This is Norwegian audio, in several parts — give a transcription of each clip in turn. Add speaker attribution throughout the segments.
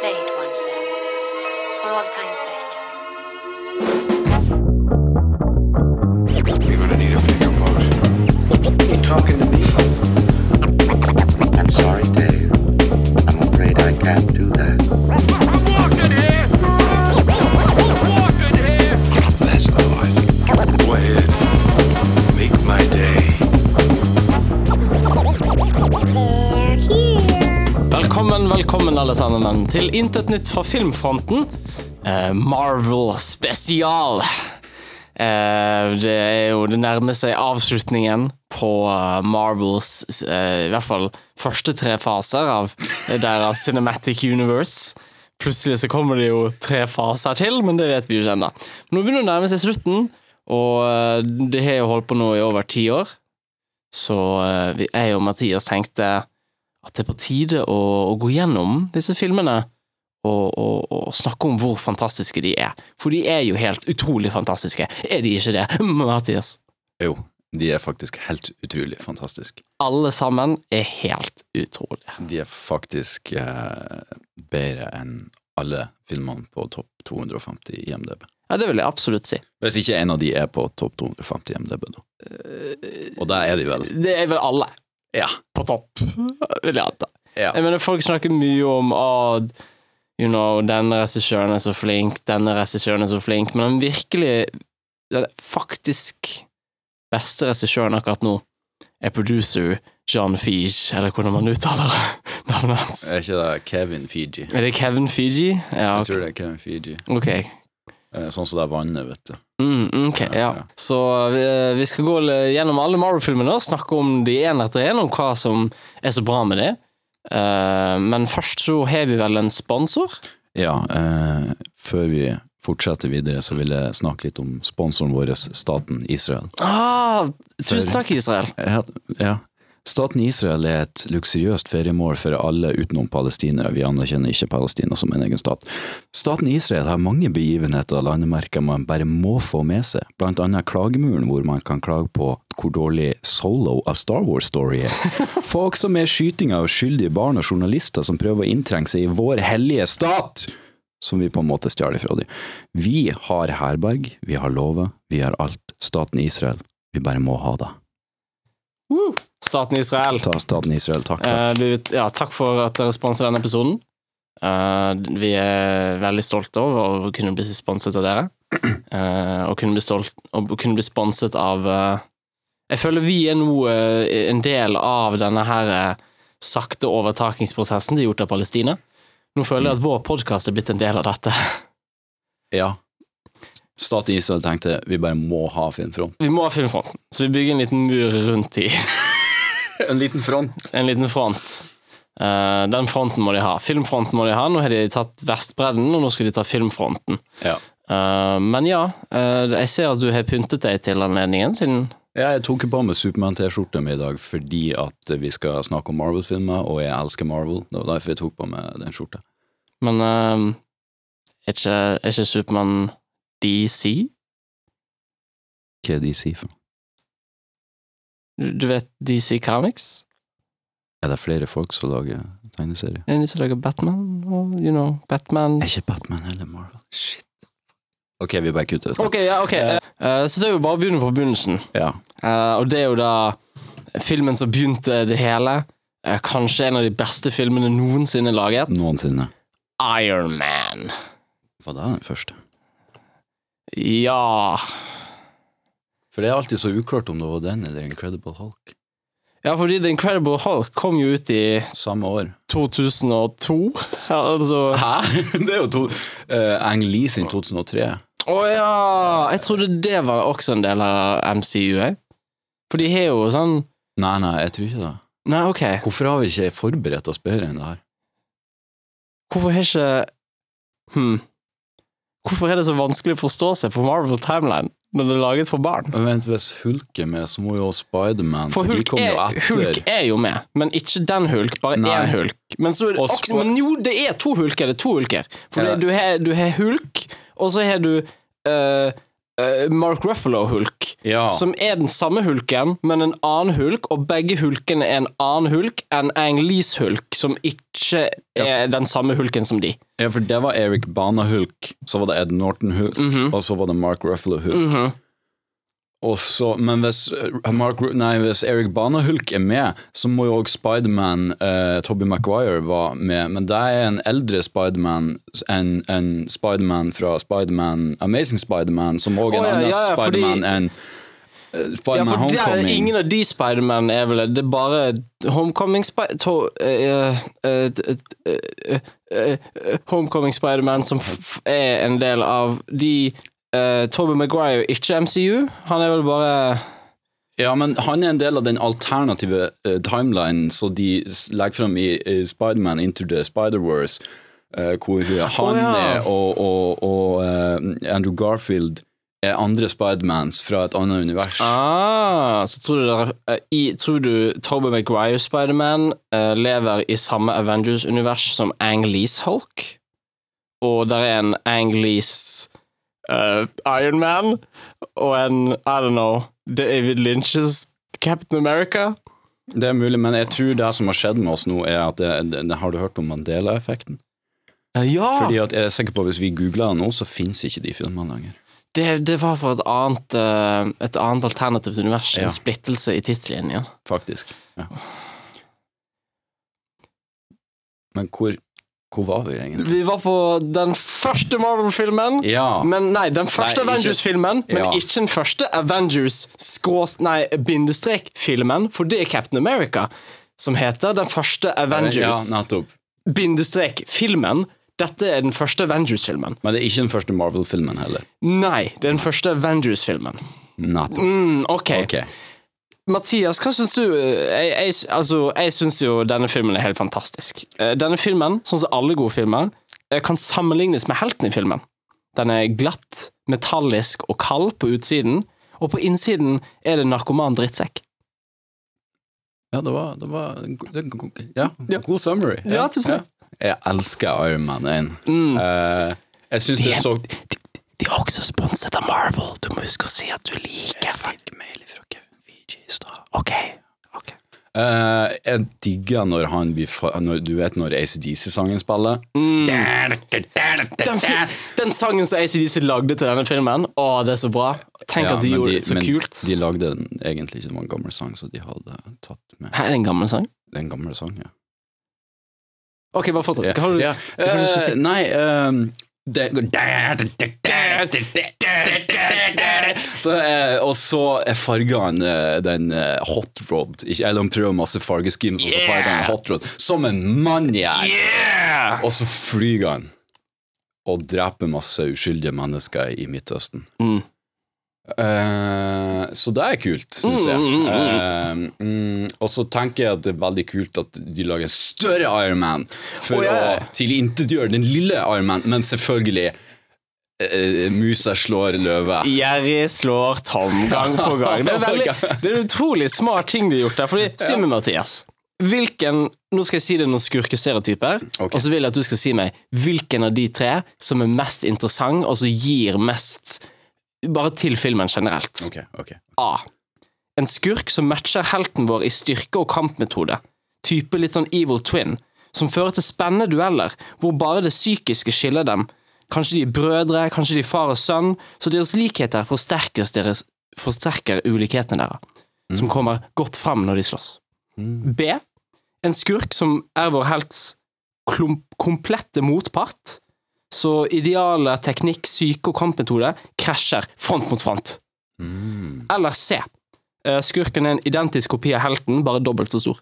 Speaker 1: play it once then, for all time's sake.
Speaker 2: You're gonna need a bigger boat.
Speaker 3: I'm sorry, Dave. I'm afraid I can't do that.
Speaker 2: That's a lot. Go ahead. Make my day.
Speaker 4: Velkommen, velkommen alle sammen til Intet nytt fra filmfronten. Eh, Marvel spesial. Eh, det er jo Det nærmer seg avslutningen på eh, Marvels eh, I hvert fall første tre faser av deres Cinematic Universe. Plutselig så kommer det jo tre faser til, men det vet vi jo ikke ennå. Men Nå begynner det å nærme seg slutten, og eh, det har jo holdt på nå i over ti år. Så eh, vi- jeg og Mathias tenkte at det er på tide å, å gå gjennom disse filmene og, og, og snakke om hvor fantastiske de er. For de er jo helt utrolig fantastiske. Er de ikke det, Mathias?
Speaker 5: Jo, de er faktisk helt utrolig fantastisk.
Speaker 4: Alle sammen er helt utrolige.
Speaker 5: De er faktisk eh, bedre enn alle filmene på topp 250 i IMDb.
Speaker 4: Ja, det vil jeg absolutt si.
Speaker 5: Hvis ikke en av de er på topp 250 i IMDb, da. Og der er de vel.
Speaker 4: Det er vel alle
Speaker 5: Ja.
Speaker 4: på topp, vil jeg anta.
Speaker 5: ja.
Speaker 4: Jeg mener, folk snakker mye om «Å, you know, denne regissøren er så flink, denne regissøren er så flink, men den virkelig, den faktisk beste regissøren akkurat nå er producer John Feige, eller hvordan man uttaler navnet hans.
Speaker 5: Er ikke det Kevin Fiji?
Speaker 4: Er det Kevin Feige? Ja,
Speaker 5: Jeg tror det er Kevin Fiji.
Speaker 4: ok.
Speaker 5: Eh, Sånn som det er vannet, vet du.
Speaker 4: Mm, ok,
Speaker 5: Ja,
Speaker 4: ja.
Speaker 5: ja.
Speaker 4: Så vi, vi skal gå l- gjennom alle Marvel-filmene og snakke om de en etter en, om hva som er så bra med det. Eh, men først så har vi vel en sponsor?
Speaker 5: Ja, eh, før vi fortsetter videre, så vil jeg snakke litt om sponsoren vår, staten Israel.
Speaker 4: Ah, tusen takk, Israel.
Speaker 5: Ja, ja. Staten Israel er et luksuriøst feriemål for alle utenom palestinere. Vi anerkjenner ikke Palestina som en egen stat. Staten Israel har mange begivenheter og landemerker man bare må få med seg, blant annet Klagemuren, hvor man kan klage på hvor dårlig solo av Star Wars Story er. Få også med skyting av skyldige barn og journalister som prøver å inntrenge seg i vår hellige stat! Som vi på en måte stjal ifra dem. Vi har herberg, vi har lover, vi har alt. Staten Israel. Vi bare må ha det.
Speaker 4: Staten Israel.
Speaker 5: Ta staten Israel, takk. takk.
Speaker 4: Eh, vi, ja, takk for at dere sponser denne episoden. Eh, vi er veldig stolte over å kunne bli sponset av dere. Eh, og kunne bli, stolt, og kunne bli sponset av eh, Jeg føler vi er nå eh, en del av denne her eh, sakte overtakingsprosessen det er gjort av Palestina. Nå føler jeg at vår podkast er blitt en del av dette.
Speaker 5: Eh, Ja. Staten Israel tenkte vi bare må ha filmfront.
Speaker 4: Vi må ha filmfronten, så vi bygger en liten mur rundt i
Speaker 5: En liten front.
Speaker 4: en liten front. Eh, den fronten må de ha. Filmfronten må de ha. Nå har de tatt Vestbredden, og nå skal de ta filmfronten.
Speaker 5: Ja.
Speaker 4: Eh, men ja, eh, jeg ser at du har pyntet deg til anledningen, siden
Speaker 5: Ja, jeg tok på meg Supermann-T-skjorta mi i dag fordi at vi skal snakke om Marvel-filmer, og jeg elsker Marvel. Det var derfor jeg tok på meg den skjorta.
Speaker 4: Men eh, er ikke, er ikke Supermann DC?
Speaker 5: Hva er de sier for noe?
Speaker 4: Du, du vet DC Comics?
Speaker 5: Er det flere folk som lager tegneserier?
Speaker 4: Er det de som lager Batman? Og, you know, Batman
Speaker 5: Er ikke Batman eller Marvel? Shit. Ok, vi bare kutter ut.
Speaker 4: Ok, ja, ok. Eh, så det er jo bare å begynne på begynnelsen.
Speaker 5: Ja.
Speaker 4: Eh, og det er jo da filmen som begynte det hele. Eh, kanskje en av de beste filmene noensinne laget.
Speaker 5: Noensinne.
Speaker 4: Iron Man.
Speaker 5: Var det den første?
Speaker 4: Ja
Speaker 5: For det er alltid så uklart om det var den eller Incredible Hulk.
Speaker 4: Ja, fordi The Incredible Hulk kom jo ut i
Speaker 5: Samme år.
Speaker 4: 2002. Ja, Altså Å
Speaker 5: Hæ? Det er jo to eh, Ang Lee sin 2003.
Speaker 4: ja! Jeg trodde det var også en del av MCU, jeg. For de har jo sånn
Speaker 5: Nei, nei, jeg tror ikke det.
Speaker 4: Nei, ok.
Speaker 5: Hvorfor har vi ikke forberedt oss bedre enn det her?
Speaker 4: Hvorfor har ikke Hm. Hvorfor er det så vanskelig å forstå seg på Marvel Timeline når det er laget for barn?
Speaker 5: Men Vent, hvis Hulk er med, så må jo Spiderman
Speaker 4: For
Speaker 5: de
Speaker 4: Hulk
Speaker 5: kom jo
Speaker 4: er,
Speaker 5: etter.
Speaker 4: Hulk er jo med, men ikke den Hulk, bare
Speaker 5: Nei.
Speaker 4: én Hulk. Men, så er det
Speaker 5: Og
Speaker 4: også,
Speaker 5: Sp-
Speaker 4: men jo, det er to Hulker. Det er to hulker. For
Speaker 5: Ja.
Speaker 4: det- du har, du har Hulk, og så har du eh, eh, Mark Ruffalo-Hulk.
Speaker 5: Ja.
Speaker 4: som er den samme hulken, men en annen hulk, og begge hulkene er en annen hulk enn Ang Lees hulk, som ikke er den samme hulken som de.
Speaker 5: Ja, for det var Eric Bana-Hulk, så var det Ed Norton-Hulk,
Speaker 4: Mhm.
Speaker 5: og så var det Mark Ruffalo-Hulk. Og så, men hvis, eh, Mark, Ru- nei, hvis Eric Bana-Hulk er med, så må jo òg Spiderman, uh, Tobey Maguire, være med. Men det er en eldre Spiderman enn en Spiderman fra Spiderman Amazing Spiderman, som òg er en
Speaker 4: Å, ja,
Speaker 5: annen
Speaker 4: ja, ja, fordi-
Speaker 5: Spiderman enn uh,
Speaker 4: Ja,
Speaker 5: Spiderman
Speaker 4: for det er
Speaker 5: Homecoming.
Speaker 4: ingen av de Spiderman er vel Det er bare Homecoming Spider... To, eh, eh, t- eh, eh, eh, eh, Homecoming Spiderman som f er en del av de uh, Tobey Maguire, ikke MCU. Han er vel bare
Speaker 5: Ja, men han er en del av den alternative eh, timelinen som de s- legger fram i eh, Spiderman Into the Spider-Wars, eh, hvor eh, han
Speaker 4: Å, ja.
Speaker 5: er og, og, og eh, Andrew Garfield er andre Spidermans fra et annet univers.
Speaker 4: Ah, så tror du, dere, eh, i, tror du Tobey Maguire Spiderman uh, lever i samme Avengers-univers som Ang Lees Hulk? Og der er en Ang Lees eh, Iron Man og en, I don't know, David Lynches Captain America?
Speaker 5: Det er mulig, men jeg tror det som har skjedd med oss nå, er at det, det, det, Har du hørt om Mandela-effekten?
Speaker 4: Eh, ja!
Speaker 5: Fordi at jeg er sikker på at hvis vi googler det nå, så fins ikke de filmene lenger.
Speaker 4: det, det var for et annet, eh, et annet alternativt univers,
Speaker 5: Ja.
Speaker 4: en splittelse i tidslinjen.
Speaker 5: Faktisk. Ja.
Speaker 4: Ah.
Speaker 5: Men hvor, hvor var vi egentlig?
Speaker 4: Vi var på den første Marvel-filmen.
Speaker 5: Ja.
Speaker 4: Men nei, den første
Speaker 5: Nei, ikke-
Speaker 4: Avengers-filmen, men
Speaker 5: Ja.
Speaker 4: ikke den første Avengers skrås... Nei, bindestrek-filmen, for det er Captain America, som heter den første
Speaker 5: Ja,
Speaker 4: Avengers
Speaker 5: nettopp.
Speaker 4: bindestrek-filmen. Dette er den første Avengers-filmen.
Speaker 5: Men det er ikke den første Marvel-filmen heller.
Speaker 4: Nei, det er den første Avengers-filmen.
Speaker 5: Nettopp.
Speaker 4: Mm, ok.
Speaker 5: Ok.
Speaker 4: Mathias, hva syns du? Jeg, jeg, altså, jeg syns jo denne filmen er helt fantastisk. Eh, Denne filmen, sånn som alle gode filmer, eh, kan sammenlignes med helten i filmen. Den er glatt, metallisk og kald på utsiden, og på innsiden er det en narkoman drittsekk.
Speaker 5: Ja, det var, det var det, ja,
Speaker 4: Ja.
Speaker 5: god summary.
Speaker 4: Ja, tusen takk. Mm.
Speaker 5: Jeg elsker Iron Man 1. Eh, jeg syns det er så
Speaker 4: de, de er også sponset av Marvel. Du må huske å si at du liker Fuck mail fra Kevin Fiji i stad. Ok. ok.
Speaker 5: Eh, Jeg digger når han blir fa- når, Du vet når ACDC-sangen spiller?
Speaker 4: Mm. Den, fi- den sangen som ACDC lagde til denne filmen, å, det er så bra. Tenk
Speaker 5: Ja,
Speaker 4: at de
Speaker 5: men
Speaker 4: gjorde det så
Speaker 5: men
Speaker 4: kult.
Speaker 5: De lagde den, egentlig ikke, det var en gammel sang, så de hadde tatt med
Speaker 4: Her er en gammel sang.
Speaker 5: den gamle sangen. Ja.
Speaker 4: Ok, bare fortsett. Hva har du,
Speaker 5: Ja.
Speaker 4: hva har du skulle si?
Speaker 5: Eh, nei ehm, det går så, eh, Og så er fargene eh, den eh, hot rod ikke, Eller han prøver masse fargeschemes Og så farger han hot rod Som en mann jeg er Og så flyger han Og dreper masse uskyldige mennesker i Midtøsten
Speaker 4: Mm.
Speaker 5: Eh, Så det er kult, synes jeg. Eh, mm, og så tenker jeg at det er veldig kult at de lager en større Iron Man for
Speaker 4: Å, ja.
Speaker 5: å tilintetgjøre den lille Iron Man, men selvfølgelig eh, Musa slår løve.
Speaker 4: Jerry slår Tom gang på gang. Det er, veldig, det er en utrolig smart ting de har gjort der. Fordi, Si meg, Mathias. Hvilken, nå skal jeg si deg noen skurkestereotyper,
Speaker 5: Ok.
Speaker 4: og så vil jeg at du skal si meg hvilken av de tre som er mest interessant, og som gir mest Bare til filmen generelt.
Speaker 5: Ok, ok.
Speaker 4: A. En skurk som matcher helten vår i styrke og kampmetode. Type litt sånn evil twin. Som fører til spennende dueller, hvor bare det psykiske skiller dem. Kanskje de er brødre, kanskje de er far og sønn, så deres likheter forsterkes deres, forsterker ulikhetene deres. Som kommer godt frem når de slåss. B. En skurk som er vår helts klum- komplette motpart. Så idealer, teknikk, psyke og kampmetode krasjer front mot front. Eller C. Eh, Skurken er en identisk kopi av helten, bare dobbelt så stor.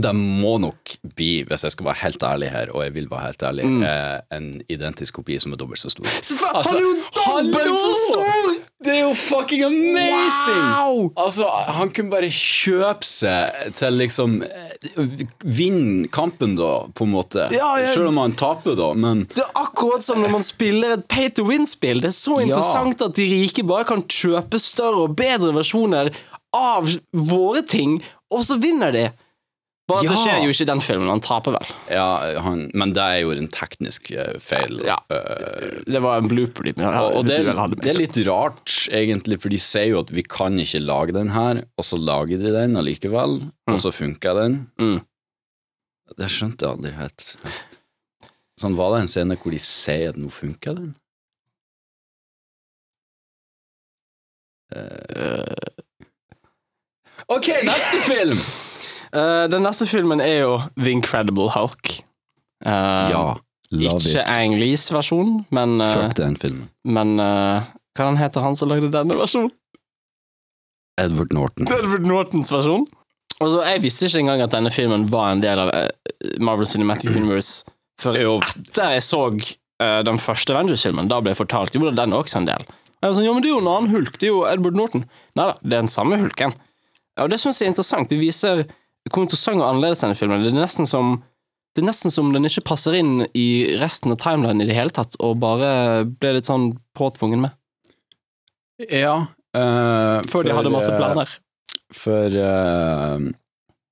Speaker 5: Det må nok bli, hvis jeg skal være helt ærlig her, og jeg vil være helt ærlig,
Speaker 4: Mm.
Speaker 5: eh, en identisk kopi som er dobbelt så stor. Altså, hallo! Det er jo fucking amazing!
Speaker 4: Wow!
Speaker 5: Altså, han kunne bare kjøpe seg til liksom eh, Vinne kampen, da, på en måte.
Speaker 4: Ja, jeg-
Speaker 5: Selv om han taper, da, men
Speaker 4: Det er akkurat som når man spiller et pay to win-spill. Det er så interessant at de rike bare kan kjøpe større og bedre versjoner av våre ting, og så vinner de. Bare at
Speaker 5: Ja!
Speaker 4: det skjer jo ikke i den filmen. Han taper vel.
Speaker 5: Ja, han, men det er jo en teknisk eh, feil.
Speaker 4: Ja.
Speaker 5: eh,
Speaker 4: Det var en blooper. de-
Speaker 5: og og det,
Speaker 4: utuell hadde med.
Speaker 5: det er litt rart, egentlig, for de sier jo at vi kan ikke lage den her, og så lager de den allikevel, og så funker den.
Speaker 4: Mm.
Speaker 5: Det skjønte jeg aldri helt. Sånn, var det en scene hvor de sier at nå funker den? Eh, Ok, neste film!
Speaker 4: Eh, den neste filmen er jo The Incredible Hulk. Eh,
Speaker 5: love
Speaker 4: ikke
Speaker 5: it.
Speaker 4: Ang Lees versjon, men, eh,
Speaker 5: Fuck den filmen.
Speaker 4: men eh, Hva den heter han som lagde denne versjonen?
Speaker 5: Edward Norton.
Speaker 4: Edward Nortons versjon. Og så, Altså, Jeg visste ikke engang at denne filmen var en del av eh, Marvel Cinematic Universe før
Speaker 5: Jo.
Speaker 4: etter jeg så eh, den første Avengers-filmen. Da ble jeg fortalt jo, men den er også en del. Og jeg var sånn, ja, men Det er jo en annen hulk. Det er jo Edward Norton. Nei da, det er den samme hulken. Og Det syns jeg er interessant. Det viser hvor interessant og annerledes denne filmen er. Det er nesten som det er nesten som den ikke passer inn i resten av timelinen i det hele tatt, og bare ble litt sånn påtvungen med.
Speaker 5: Ja. eh,
Speaker 4: Før de hadde masse
Speaker 5: eh,
Speaker 4: planer.
Speaker 5: For eh,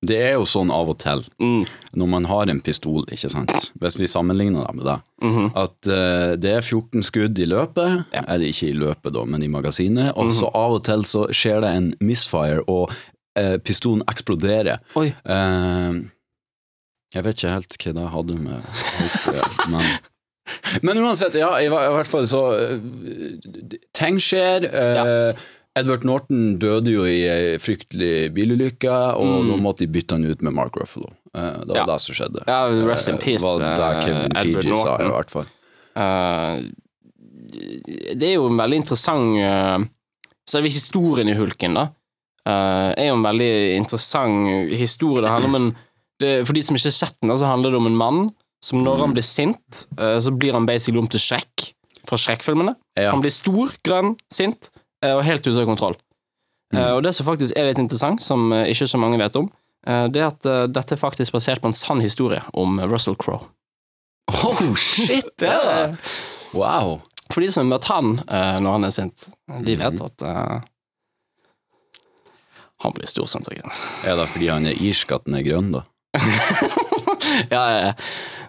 Speaker 5: det er jo sånn av og til,
Speaker 4: Mm.
Speaker 5: når man har en pistol, ikke sant, hvis vi sammenligner det med det,
Speaker 4: Mhm.
Speaker 5: at eh, det er 14 skudd i løpet, eller ikke i løpet da, men i magasinet, og så av og til så skjer det en misfire, og eh, pistolen eksploderer.
Speaker 4: Oi.
Speaker 5: Eh, jeg vet ikke helt hva det hadde med alt, men... Men uansett, ja, i, hver- i hvert fall så eh, Ting skjer. eh, Edward Norton døde jo i ei fryktelig bilulykke, og da måtte de bytte han ut med Mark Ruffalo. Eh, det var
Speaker 4: Mm. Ja.
Speaker 5: det som skjedde.
Speaker 4: Ja, rest in
Speaker 5: Eh,
Speaker 4: peace,
Speaker 5: var det
Speaker 4: eh,
Speaker 5: Kevin
Speaker 4: Edward
Speaker 5: Feige sa,
Speaker 4: Norton.
Speaker 5: i hvert fall.
Speaker 4: Eh, det er jo en veldig interessant eh, Selve historien i Hulken, da, eh, er jo en veldig interessant historie. Det handler om en det, For de som ikke har sett den, da, så handler det om en mann som når
Speaker 5: Mm.
Speaker 4: han blir sint, eh, så blir han basically om til Shrek fra Shrek-filmene.
Speaker 5: Ja.
Speaker 4: Han blir stor, grønn, sint eh, og helt ute av kontroll. Eh,
Speaker 5: Mm.
Speaker 4: og det som faktisk er litt interessant, som eh, ikke så mange vet om, eh, det er at eh, dette er faktisk basert på en sann historie om eh, Russell Crowe.
Speaker 5: Oh, shit! ja. Wow.
Speaker 4: For de som har møtt han eh, når han er sint, de vet
Speaker 5: Mm.
Speaker 4: at eh, han blir stor sånn, sikkert.
Speaker 5: Er det fordi han er irsk at han er grønn, da?
Speaker 4: Ja, ja, ja.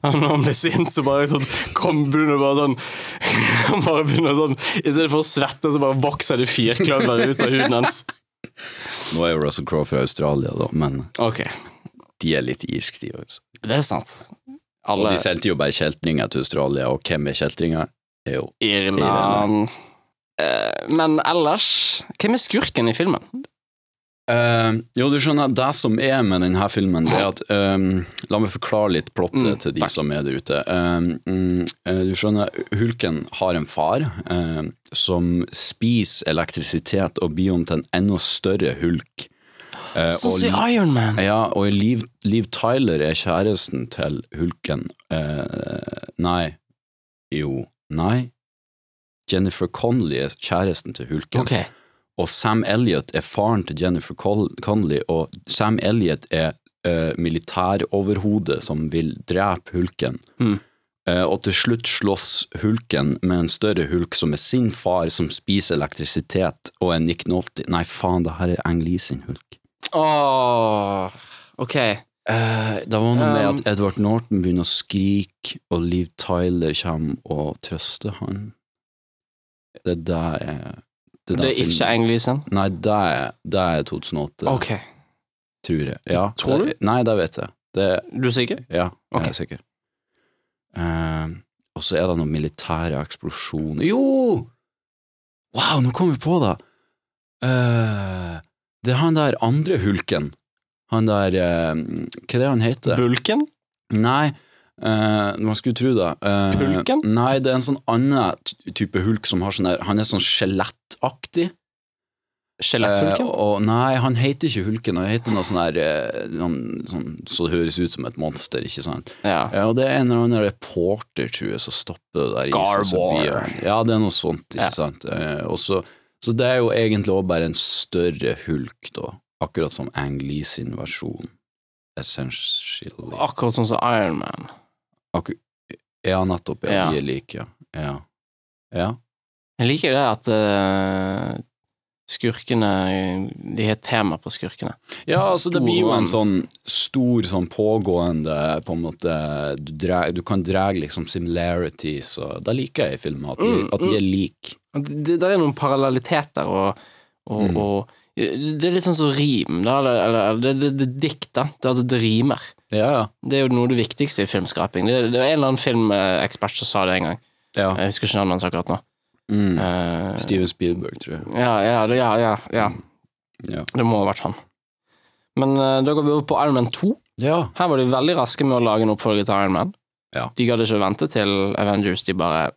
Speaker 4: Og Når han blir sint, så bare sånn kom, begynner bare sånn Han bare begynner sånn I stedet for å svette, så bare vokser det firkløver ut av huden hans.
Speaker 5: Nå er jo Russell Crowe fra Australia, da, men
Speaker 4: Ok,
Speaker 5: de er litt irske, de også.
Speaker 4: det er sant.
Speaker 5: Og
Speaker 4: Alle
Speaker 5: de sendte jo bare kjeltringer til Australia, og hvem er kjeltringer? Er jo
Speaker 4: Irland Eh, Men ellers Hvem er skurken i filmen?
Speaker 5: Eh, jo, du skjønner, det som er med denne filmen, det er at eh, La meg forklare litt plottet
Speaker 4: Mm,
Speaker 5: til de
Speaker 4: takk.
Speaker 5: som er der ute. Eh, mm, eh, du skjønner, Hulken har en far eh, som spiser elektrisitet og blir om til en enda større hulk. Eh, og
Speaker 4: Sånn som i Iron Man.
Speaker 5: ja, og Liv, Liv Tyler er kjæresten til Hulken. Eh, nei Jo, nei. Jennifer Connolly er kjæresten til Hulken.
Speaker 4: Ok,
Speaker 5: Og Sam Elliot er faren til Jennifer Col- Connelly, og Sam Elliot er eh, militæroverhodet som vil drepe hulken.
Speaker 4: Mm.
Speaker 5: Eh, og til slutt slåss hulken med en større hulk som er sin far, som spiser elektrisitet, og er Nick Nolte Nei, faen, det her er Ang Lee sin hulk.
Speaker 4: Åh, ok
Speaker 5: Eh, det var noe med
Speaker 4: Um.
Speaker 5: at Edward Norton begynner å skrike, og Liv Tyler kommer og trøster han. Det der er Det,
Speaker 4: Det er ikke Ang Lee sin?
Speaker 5: Nei, det er, det er 2008.
Speaker 4: Ok.
Speaker 5: Tror jeg. Ja,
Speaker 4: Tror du?
Speaker 5: Det, nei, det vet jeg. Det,
Speaker 4: Du er sikker?
Speaker 5: ja,
Speaker 4: Ok.
Speaker 5: jeg er sikker. Eh, og så er det noen militære eksplosjoner Jo! Wow, nå kom vi på det! Eh, det er han der andre hulken. Han der eh, Hva er det han heter?
Speaker 4: Bulken?
Speaker 5: Nei, eh, man skulle tro det. Eh,
Speaker 4: Hulken?
Speaker 5: Nei, det er en sånn annen ty- type hulk som har sånn der Han er sånn skjelettaktig.
Speaker 4: Skjeletthulken?
Speaker 5: Eh, og, nei, han heter ikke Hulken, han heter noe sånn der eh, sånn, sånn, Så det høres ut som et monster, ikke sant?
Speaker 4: ja.
Speaker 5: Ja, og det er en eller annen reporter, tror jeg, som stopper det der
Speaker 4: Gar
Speaker 5: og så blir
Speaker 4: War.
Speaker 5: han- Ja, det er noe sånt, ikke
Speaker 4: Ja.
Speaker 5: sant? Eh, og så, så det er jo egentlig også bare en større hulk, da. Akkurat som Ang Lee sin versjon. Essentially.
Speaker 4: Akkurat sånn som Iron Man.
Speaker 5: Akku- ja, nettopp. Ja,
Speaker 4: Ja.
Speaker 5: de er like. Ja. Ja. ja.
Speaker 4: Jeg liker det at eh, Skurkene De har et tema på skurkene.
Speaker 5: Ja, altså det
Speaker 4: Stor
Speaker 5: blir jo en
Speaker 4: vann.
Speaker 5: sånn stor sånn pågående på en måte Du, dra- du kan dra liksom similarities, og da liker jeg i filmen at de, at de er like.
Speaker 4: Og Det, det er noen parallelliteter og, og,
Speaker 5: Mm.
Speaker 4: og Det er litt sånn som rim, da. Eller, eller det, det, det er dikt, da. Det, er at det rimer.
Speaker 5: Ja, ja.
Speaker 4: Det er jo noe av det viktigste i filmskaping. Det, det var en eller annen filmekspert som sa det en gang.
Speaker 5: ja.
Speaker 4: Jeg husker ikke navnet hans akkurat nå.
Speaker 5: Mm.
Speaker 4: Eh,
Speaker 5: Steven Spielberg, tror jeg.
Speaker 4: ja, ja, det, ja, ja, ja.
Speaker 5: Mm. Ja.
Speaker 4: Det må ha vært han. Men eh, da går vi over på Iron Man 2.
Speaker 5: ja.
Speaker 4: Her var de veldig raske med å lage en oppfølger til Iron Man.
Speaker 5: Ja.
Speaker 4: De gadd ikke å vente til Avengers. De bare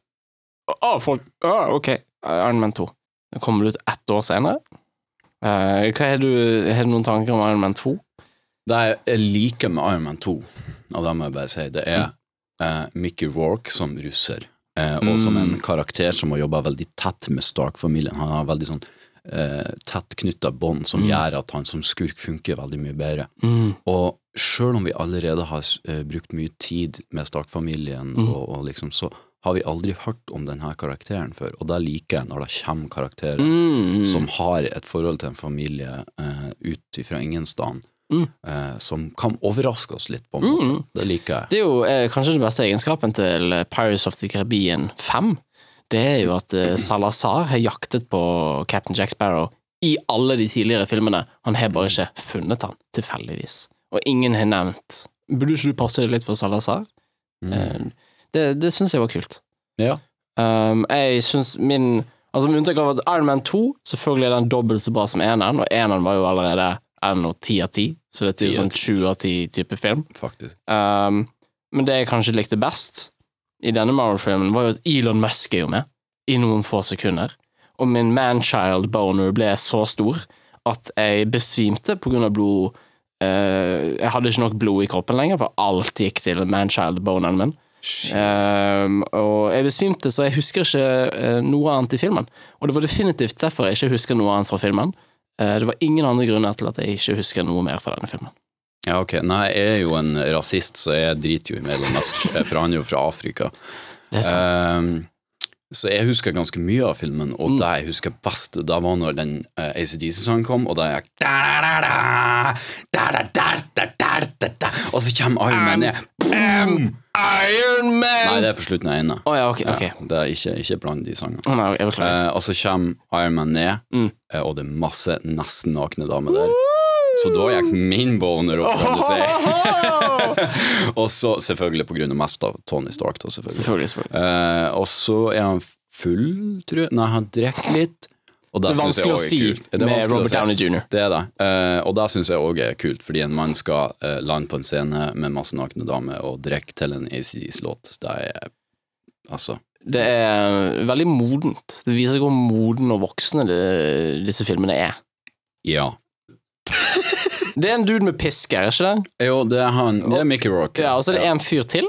Speaker 4: Å, folk Å, ok. Iron Man 2. Den kommer ut ett år senere. Eh, hva Har du, har du noen tanker om Iron Man 2?
Speaker 5: Det jeg- jeg liker med Iron Man 2, og da må jeg bare si, det er eh, Mickey Rourke som russer, eh, og som en karakter som har jobba veldig tett med Stark-familien. Han har veldig sånn eh, tett knytta bånd som gjør at han som skurk funker veldig mye bedre. Og sjøl om vi allerede har eh, brukt mye tid med Stark-familien, og, og liksom så har vi aldri hørt om denne karakteren før, og det liker jeg når det kommer karakterer
Speaker 4: Mm.
Speaker 5: som har et forhold til en familie eh, ut ifra ingenstaden, eh, som kan overraske oss litt, på en måte. Det liker jeg.
Speaker 4: Det er jo eh, kanskje den beste egenskapen til eh, Pirates of the Caribbean 5. Det er jo at eh, Salazar har jaktet på Captain Jack Sparrow i alle de tidligere filmene. Han har bare ikke funnet han, tilfeldigvis. Og ingen har nevnt Burde ikke du passe deg litt for Salazar?
Speaker 5: Mm,
Speaker 4: Eh, Det, det syns jeg var kult.
Speaker 5: Ja.
Speaker 4: Um, jeg syns min Altså Med unntak av at Iron Man 2 selvfølgelig er den dobbelt så bra som eneren, og eneren var jo allerede er det noe 10 av 10, så dette er jo
Speaker 5: 10 av
Speaker 4: sånn 20 av 10 type film.
Speaker 5: Faktisk.
Speaker 4: Um, men det jeg kanskje likte best i denne Marvel-filmen, var jo at Elon Musk er jo med i noen få sekunder. Og min manchild-boner ble så stor at jeg besvimte på grunn av blod eh, Jeg hadde ikke nok blod i kroppen lenger, for alt gikk til manchild-boneren min. Um, og jeg besvimte, så jeg husker ikke eh, noe annet i filmen. Og det var definitivt derfor jeg ikke husker noe annet fra filmen. Eh, det var ingen andre grunner til at jeg ikke husker noe mer fra denne filmen.
Speaker 5: Ja, ok. Nei, jeg er jo en rasist, så jeg driter jo i Elon Musk, eh, for han er jo fra Afrika.
Speaker 4: Det er sant.
Speaker 5: Ehm, så jeg husker ganske mye av filmen, og det jeg husker best, da var når den uh, ACDC-sangen kom, og da er jeg da-da-da-da, da-da-da-da-da-da-da, Og så kommer Iron Man ned. Boom!
Speaker 4: Iron Man!
Speaker 5: Nei, det er på slutten av ene.
Speaker 4: Å ja, ok. ok.
Speaker 5: Ja, det er ikke, ikke blant de sangene.
Speaker 4: Å, Nei, jeg beklager.
Speaker 5: Eh, og så kommer Iron Man ned,
Speaker 4: Mm.
Speaker 5: eh, og det er masse nesten nakne damer der. Så da gikk min boner opp, kan du si. og så selvfølgelig på grunn av mest av Tony Stark, da, selvfølgelig.
Speaker 4: Selvfølgelig. selvfølgelig.
Speaker 5: Eh, og så er han full, tror jeg. Nei, han drikker litt. Og
Speaker 4: Det er
Speaker 5: synes jeg
Speaker 4: vanskelig å
Speaker 5: også er
Speaker 4: si
Speaker 5: kult. Det er
Speaker 4: med
Speaker 5: vanskelig å
Speaker 4: Robert
Speaker 5: si.
Speaker 4: Downey Jr..
Speaker 5: Det er det. Eh, og det syns jeg òg er kult, fordi en mann skal eh, lande på en scene med masse nakne damer og drikke til en ACDs-låt. Det er altså
Speaker 4: Det er veldig modent. Det viser hvor moden og voksne det, disse filmene er.
Speaker 5: Ja.
Speaker 4: Det er en dude med piske, er det ikke det?
Speaker 5: Jo, det er han. Det er Mickey Rourke.
Speaker 4: Ja, Og så er det en fyr til?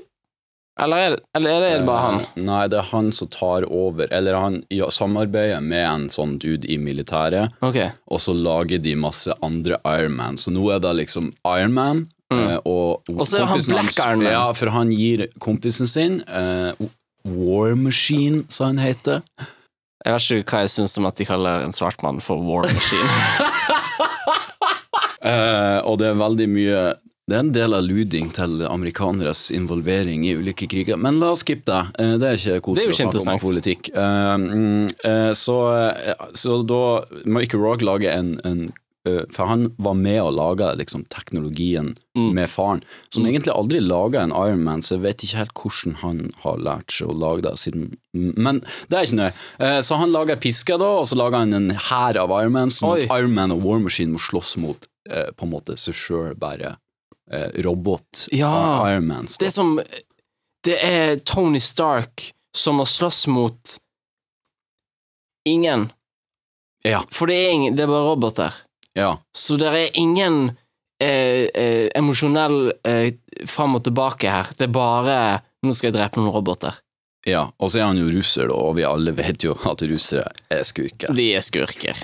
Speaker 4: Eller er det, eller er det, er det bare han?
Speaker 5: Eh, Nei, det er han som tar over Eller han ja, samarbeider med en sånn dude i militæret,
Speaker 4: Ok.
Speaker 5: og så lager de masse andre Iron Man. Så nå er det liksom Iron Man eh, og
Speaker 4: Mm. Og så er det han
Speaker 5: kompisen
Speaker 4: Black
Speaker 5: hans-
Speaker 4: Iron Man.
Speaker 5: Ja, for han gir kompisen sin eh, War Machine, som han heter.
Speaker 4: Jeg vet ikke hva jeg syns om at de kaller en svart mann for war machine.
Speaker 5: Eh, og det er veldig mye Det er en del alluding til amerikaneres involvering i ulike kriger, men la oss skippe det. Eh, det er ikke
Speaker 4: Det er
Speaker 5: koselig å
Speaker 4: jo ikke
Speaker 5: snakke om
Speaker 4: interessant.
Speaker 5: politikk. Eh, mm, eh, så, eh, så da Michael Rock lager en, en eh, For han var med og laga liksom, teknologien
Speaker 4: Mm.
Speaker 5: med faren, som egentlig aldri laga en Ironman, så jeg vet ikke helt hvordan han har lært seg å lage det siden Men det er ikke nøye. Eh, så han lager piske, da, og så lager han en hær av Ironman, sånn at
Speaker 4: Oi.
Speaker 5: Ironman og War Machine må slåss mot eh, på en måte seg sjøl, bare eh, robot eh,
Speaker 4: Ja.
Speaker 5: Ironman.
Speaker 4: Det er som Det er Tony Stark som må slåss mot ingen.
Speaker 5: Ja.
Speaker 4: For det er, ingen, det er bare roboter.
Speaker 5: Ja.
Speaker 4: Så det er ingen eh, eh, emosjonell eh, fram og tilbake her. Det er bare 'nå skal jeg drepe noen roboter'.
Speaker 5: ja. Og så er han jo russer, da, og vi alle vet jo at russere er skurker.
Speaker 4: De er skurker.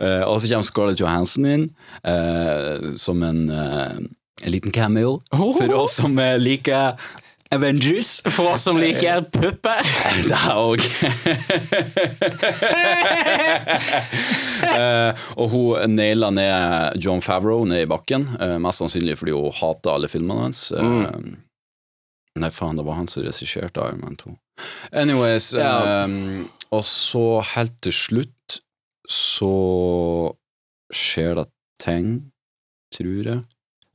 Speaker 5: Eh, og så kommer Scarlett Johansen inn eh, som en, eh, en liten cameo for oss som eh, liker Avengers.
Speaker 4: For oss som liker pupper.
Speaker 5: Det er òg. Eh, og hun naila ned John Favreau ned i bakken, eh, mest sannsynlig fordi hun hata alle filmene hans. Eh, Nei, faen, det var han som regisserte Iron Man 2. Anyways,
Speaker 4: Ja.
Speaker 5: eh, og så helt til slutt så skjer det ting, tror jeg.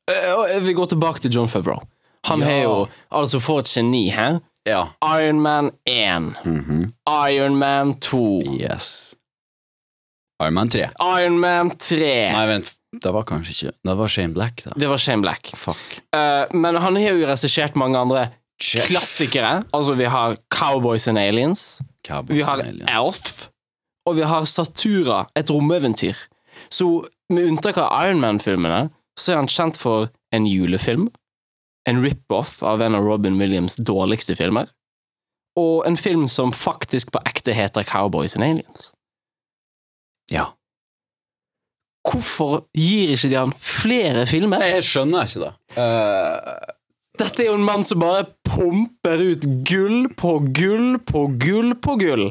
Speaker 4: Eh, og Vi går tilbake til John Favreau. Han
Speaker 5: Ja.
Speaker 4: har jo altså for et geni her.
Speaker 5: Ja.
Speaker 4: Iron Man 1,
Speaker 5: Mhm.
Speaker 4: Iron Man 2,
Speaker 5: Yes. Iron Man 3.
Speaker 4: Iron Man 3
Speaker 5: Nei, vent, det var kanskje ikke Det var Shane Black, da.
Speaker 4: Det var Shane Black.
Speaker 5: Fuck.
Speaker 4: Eh, men han har jo regissert mange andre
Speaker 5: Jeff.
Speaker 4: klassikere. Altså, vi har Cowboys and Aliens.
Speaker 5: Cowboys
Speaker 4: Vi har
Speaker 5: and Aliens.
Speaker 4: Elf. Og vi har Satura, et romeventyr. Så med unntak av Iron Man-filmene, så er han kjent for en julefilm, en rip-off av en av Robin Williams' dårligste filmer, og en film som faktisk på ekte heter Cowboys and Aliens.
Speaker 5: Ja.
Speaker 4: Hvorfor gir ikke de han flere filmer?
Speaker 5: Nei, jeg skjønner ikke det. Eh,
Speaker 4: Dette er jo en mann som bare pumper ut gull på gull på gull på gull.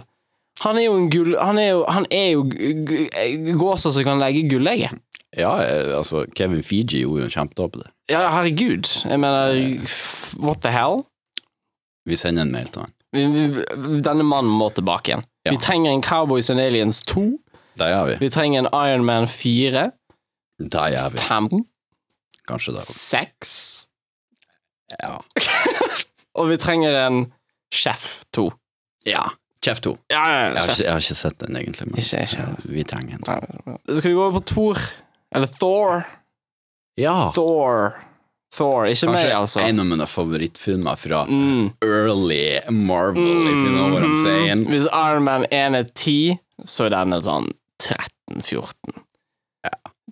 Speaker 4: Han er jo en gull... Han er jo, han er jo g- g- gåsa som kan legge gullegget.
Speaker 5: ja, eh, altså, Kevin Fiji gjorde jo en kjempetabbe der.
Speaker 4: Ja, herregud. Jeg mener, f- what the hell?
Speaker 5: Vi sender en mail til han.
Speaker 4: Vi, vi, denne mannen må tilbake igjen.
Speaker 5: Ja.
Speaker 4: Vi trenger en Cowboys and Aliens 2.
Speaker 5: Det gjør vi.
Speaker 4: Vi trenger en Iron Man 4,
Speaker 5: Det gjør vi.
Speaker 4: 5,
Speaker 5: Kanskje det.
Speaker 4: 6
Speaker 5: Ja.
Speaker 4: Og vi trenger en Chef 2.
Speaker 5: ja. Kjeft to.
Speaker 4: Ja, ja,
Speaker 5: Jeg
Speaker 4: ja,
Speaker 5: har,
Speaker 4: Chef
Speaker 5: ikke, jeg har ikke sett den, egentlig. Men
Speaker 4: Ikke- ikke.
Speaker 5: eh, vi trenger en.
Speaker 4: Skal vi gå over på Thor? Eller Thor?
Speaker 5: Ja.
Speaker 4: Thor. Thor, ikke
Speaker 5: Ah. Kanskje
Speaker 4: meg, altså.
Speaker 5: en av mine favorittfilmer fra
Speaker 4: Mm.
Speaker 5: early Marvel, if you know what I'm saying.
Speaker 4: Hvis Iron Man 1 er 10, så er denne sånn 13-14.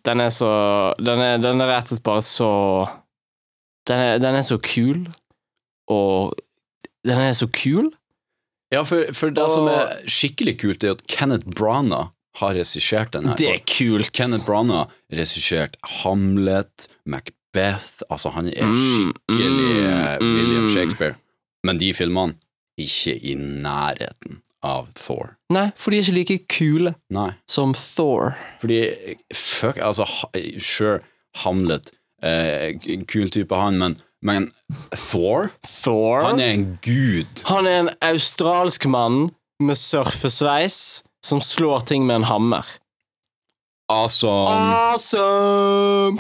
Speaker 4: Den er så Den er, den er rett og slett bare så den er, den er så kul, og Den er så kul.
Speaker 5: Ja, for, for det
Speaker 4: Og-
Speaker 5: som er skikkelig kult, er at Kenneth Branagh har regissert den her.
Speaker 4: Det er kult.
Speaker 5: Kenneth Branagh regissert Hamlet, Macbeth Altså, han er
Speaker 4: Mm,
Speaker 5: skikkelig eh,
Speaker 4: mm,
Speaker 5: William
Speaker 4: mm.
Speaker 5: Shakespeare. Men de filmene, ikke i nærheten av Thor.
Speaker 4: Nei, for de er ikke like kule
Speaker 5: Nei.
Speaker 4: som Thor.
Speaker 5: Fordi eh, fuck, altså, ha- sure, Hamlet, eh, kul type han, men, men Thor?
Speaker 4: Thor?
Speaker 5: Han er en gud.
Speaker 4: Han er en australsk mann med surfesveis som slår ting med en hammer.
Speaker 5: Altså
Speaker 4: Ah. Awesome!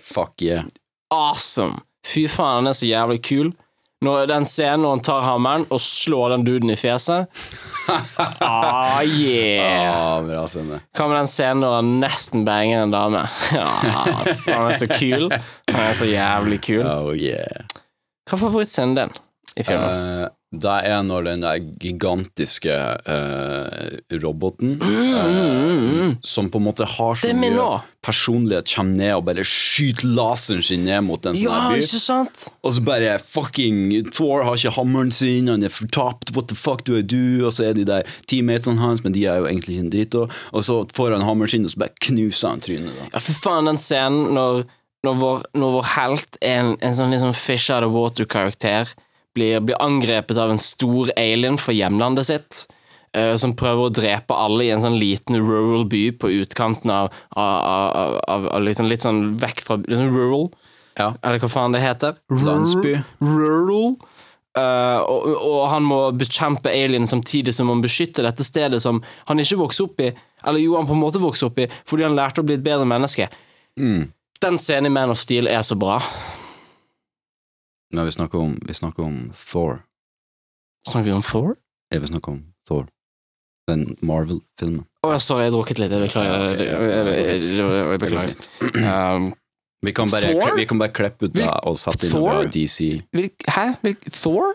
Speaker 5: Fuck yeah.
Speaker 4: Awesome! Fy faen, han er så jævlig kul. Når den scenen når han tar hammeren og slår den duden i fjeset Ah, yeah!
Speaker 5: Ah, bra scene.
Speaker 4: Hva med den scenen når han nesten banger en dame? Ja, altså, han er så kul. Han er så jævlig kul.
Speaker 5: Oh yeah.
Speaker 4: Hva er favorittscenen din i filmen?
Speaker 5: Eh, det er når den der gigantiske eh, roboten
Speaker 4: Mm,
Speaker 5: eh, Som på en måte har så
Speaker 4: Det er min
Speaker 5: mye
Speaker 4: også.
Speaker 5: personlighet, kommer ned og bare skyter laseren sin ned mot en sånn
Speaker 4: ja,
Speaker 5: her by.
Speaker 4: ikke sant?
Speaker 5: Og så bare fucking Thor har ikke hammeren sin, han er fortapt, what the fuck, du er du, og så er de der teammatene hans, men de er jo egentlig ikke en dritt, og, og så får han hammeren sin, og så bare knuser han trynet. da.
Speaker 4: Ja, for faen, den scenen når, når, vår, når vår helt er en, en sånn litt sånn fish out of water-karakter, blir, blir angrepet av en stor alien fra hjemlandet sitt, eh, som prøver å drepe alle i en sånn liten rural by på utkanten av, av, av, av, av, av litt, sånn, litt sånn vekk fra litt sånn rural,
Speaker 5: Ja.
Speaker 4: eller hva faen det heter.
Speaker 5: Landsby.
Speaker 4: Rural. Eh, og, og han må bekjempe alien samtidig som han beskytter dette stedet som han ikke vokste opp i. Eller jo, han på en måte vokste opp i fordi han lærte å bli et bedre menneske.
Speaker 5: Mm.
Speaker 4: Den scenen i Man of Steel er så bra.
Speaker 5: Nei, vi snakker om, vi snakker om Thor.
Speaker 4: Snakker vi om Thor?
Speaker 5: Jeg vil snakke om Thor. Den Marvel-filmen.
Speaker 4: Å, ja, sorry, jeg har drukket litt. Jeg beklager.
Speaker 5: Ja, ok, ja,
Speaker 4: Jeg- jeg- jeg- jeg- jeg
Speaker 5: Det går
Speaker 4: beklager.
Speaker 5: fint.
Speaker 4: Um,
Speaker 5: Vi kan bare,
Speaker 4: Thor?
Speaker 5: vi kan bare klippe ut det og sette inn noe
Speaker 4: Thor?
Speaker 5: DC.
Speaker 4: hvilk, hæ? Hvilk, Thor?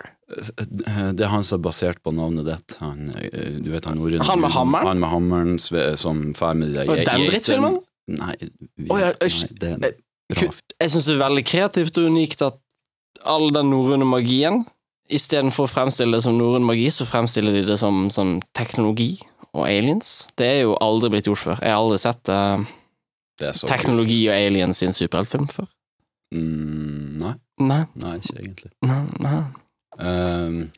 Speaker 5: Det er han som er basert på navnet ditt. Han, eh, du vet han ordet
Speaker 4: Han med hammeren?
Speaker 5: Han med hammeren sve- som fer med de der
Speaker 4: Og den
Speaker 5: geitene.
Speaker 4: drittfilmen?
Speaker 5: Nei, vi,
Speaker 4: Å ja,
Speaker 5: nei,
Speaker 4: øsj.
Speaker 5: det er en
Speaker 4: Eh,
Speaker 5: bra
Speaker 4: ku- Jeg syns det er veldig kreativt og unikt at all den norrøne magien Istedenfor å fremstille det som norrøn magi, så fremstiller de det som sånn teknologi og aliens. Det er jo aldri blitt gjort før. Jeg har aldri sett eh,
Speaker 5: det er så
Speaker 4: teknologi og aliens i en superheltfilm før.
Speaker 5: Mm, nei.
Speaker 4: Nei,
Speaker 5: Nei, ikke egentlig.
Speaker 4: nei, nei.
Speaker 5: Ehm,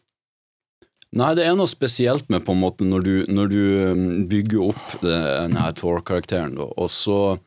Speaker 5: nei, det er noe spesielt med på en måte når du, når du um, bygger opp denne Thor-karakteren, da, og så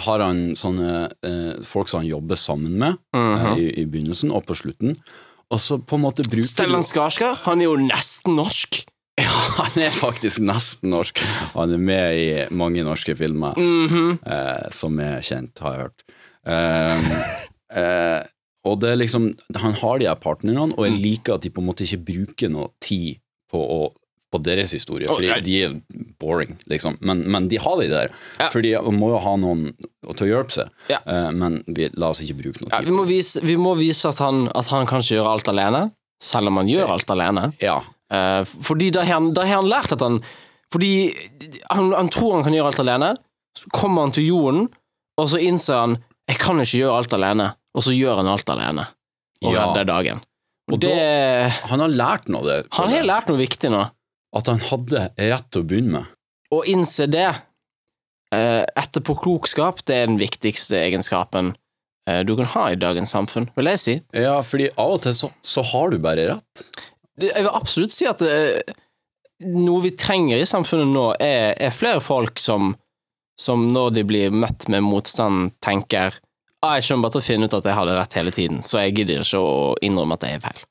Speaker 5: har han sånne eh, folk som han jobber sammen med eh,
Speaker 4: Mhm.
Speaker 5: i, i begynnelsen og på slutten, og så på en måte bruker
Speaker 4: Stellan Skarsgård, han er jo nesten norsk.
Speaker 5: du Ja, han er faktisk nesten norsk. Han er med i mange norske filmer.
Speaker 4: Mhm.
Speaker 5: eh, som er kjent, har jeg hørt. Ehm, eh, og det er liksom Han har de her partnerne, og
Speaker 4: Mm.
Speaker 5: jeg liker at de på en måte ikke bruker noe tid på, å, på deres historie,
Speaker 4: Å,
Speaker 5: fordi
Speaker 4: nei.
Speaker 5: de er boring, liksom. Men, men de har de der,
Speaker 4: Ja.
Speaker 5: for de må jo ha noen til å hjelpe seg.
Speaker 4: Ja.
Speaker 5: Eh, men vi, la oss ikke bruke noe
Speaker 4: Ja,
Speaker 5: tid
Speaker 4: vi må vise, vi må vise at, han, at han kan ikke gjøre alt alene, selv om han gjør alt alene.
Speaker 5: Ja.
Speaker 4: Eh, fordi da har han, da har han lært at han Fordi han, han tror han kan gjøre alt alene, så kommer han til jorden, og så innser han 'jeg kan ikke gjøre alt alene', og så gjør han alt alene. Og
Speaker 5: Ja.
Speaker 4: redder dagen.
Speaker 5: Og
Speaker 4: Og det,
Speaker 5: Han har lært noe, det.
Speaker 4: han har lært noe viktig nå.
Speaker 5: At han hadde rett til å begynne med.
Speaker 4: Å innse det eh, etterpåklokskap, det er den viktigste egenskapen eh, du kan ha i dagens samfunn, vil jeg si.
Speaker 5: Ja, fordi av og til så, så har du bare rett.
Speaker 4: Det- Jeg vil absolutt si at eh, noe vi trenger i samfunnet nå, er, er flere folk som, som når de blir møtt med motstand, tenker ah, 'Jeg kommer bare til å finne ut at jeg hadde rett hele tiden, så jeg gidder ikke å innrømme at jeg er feil'.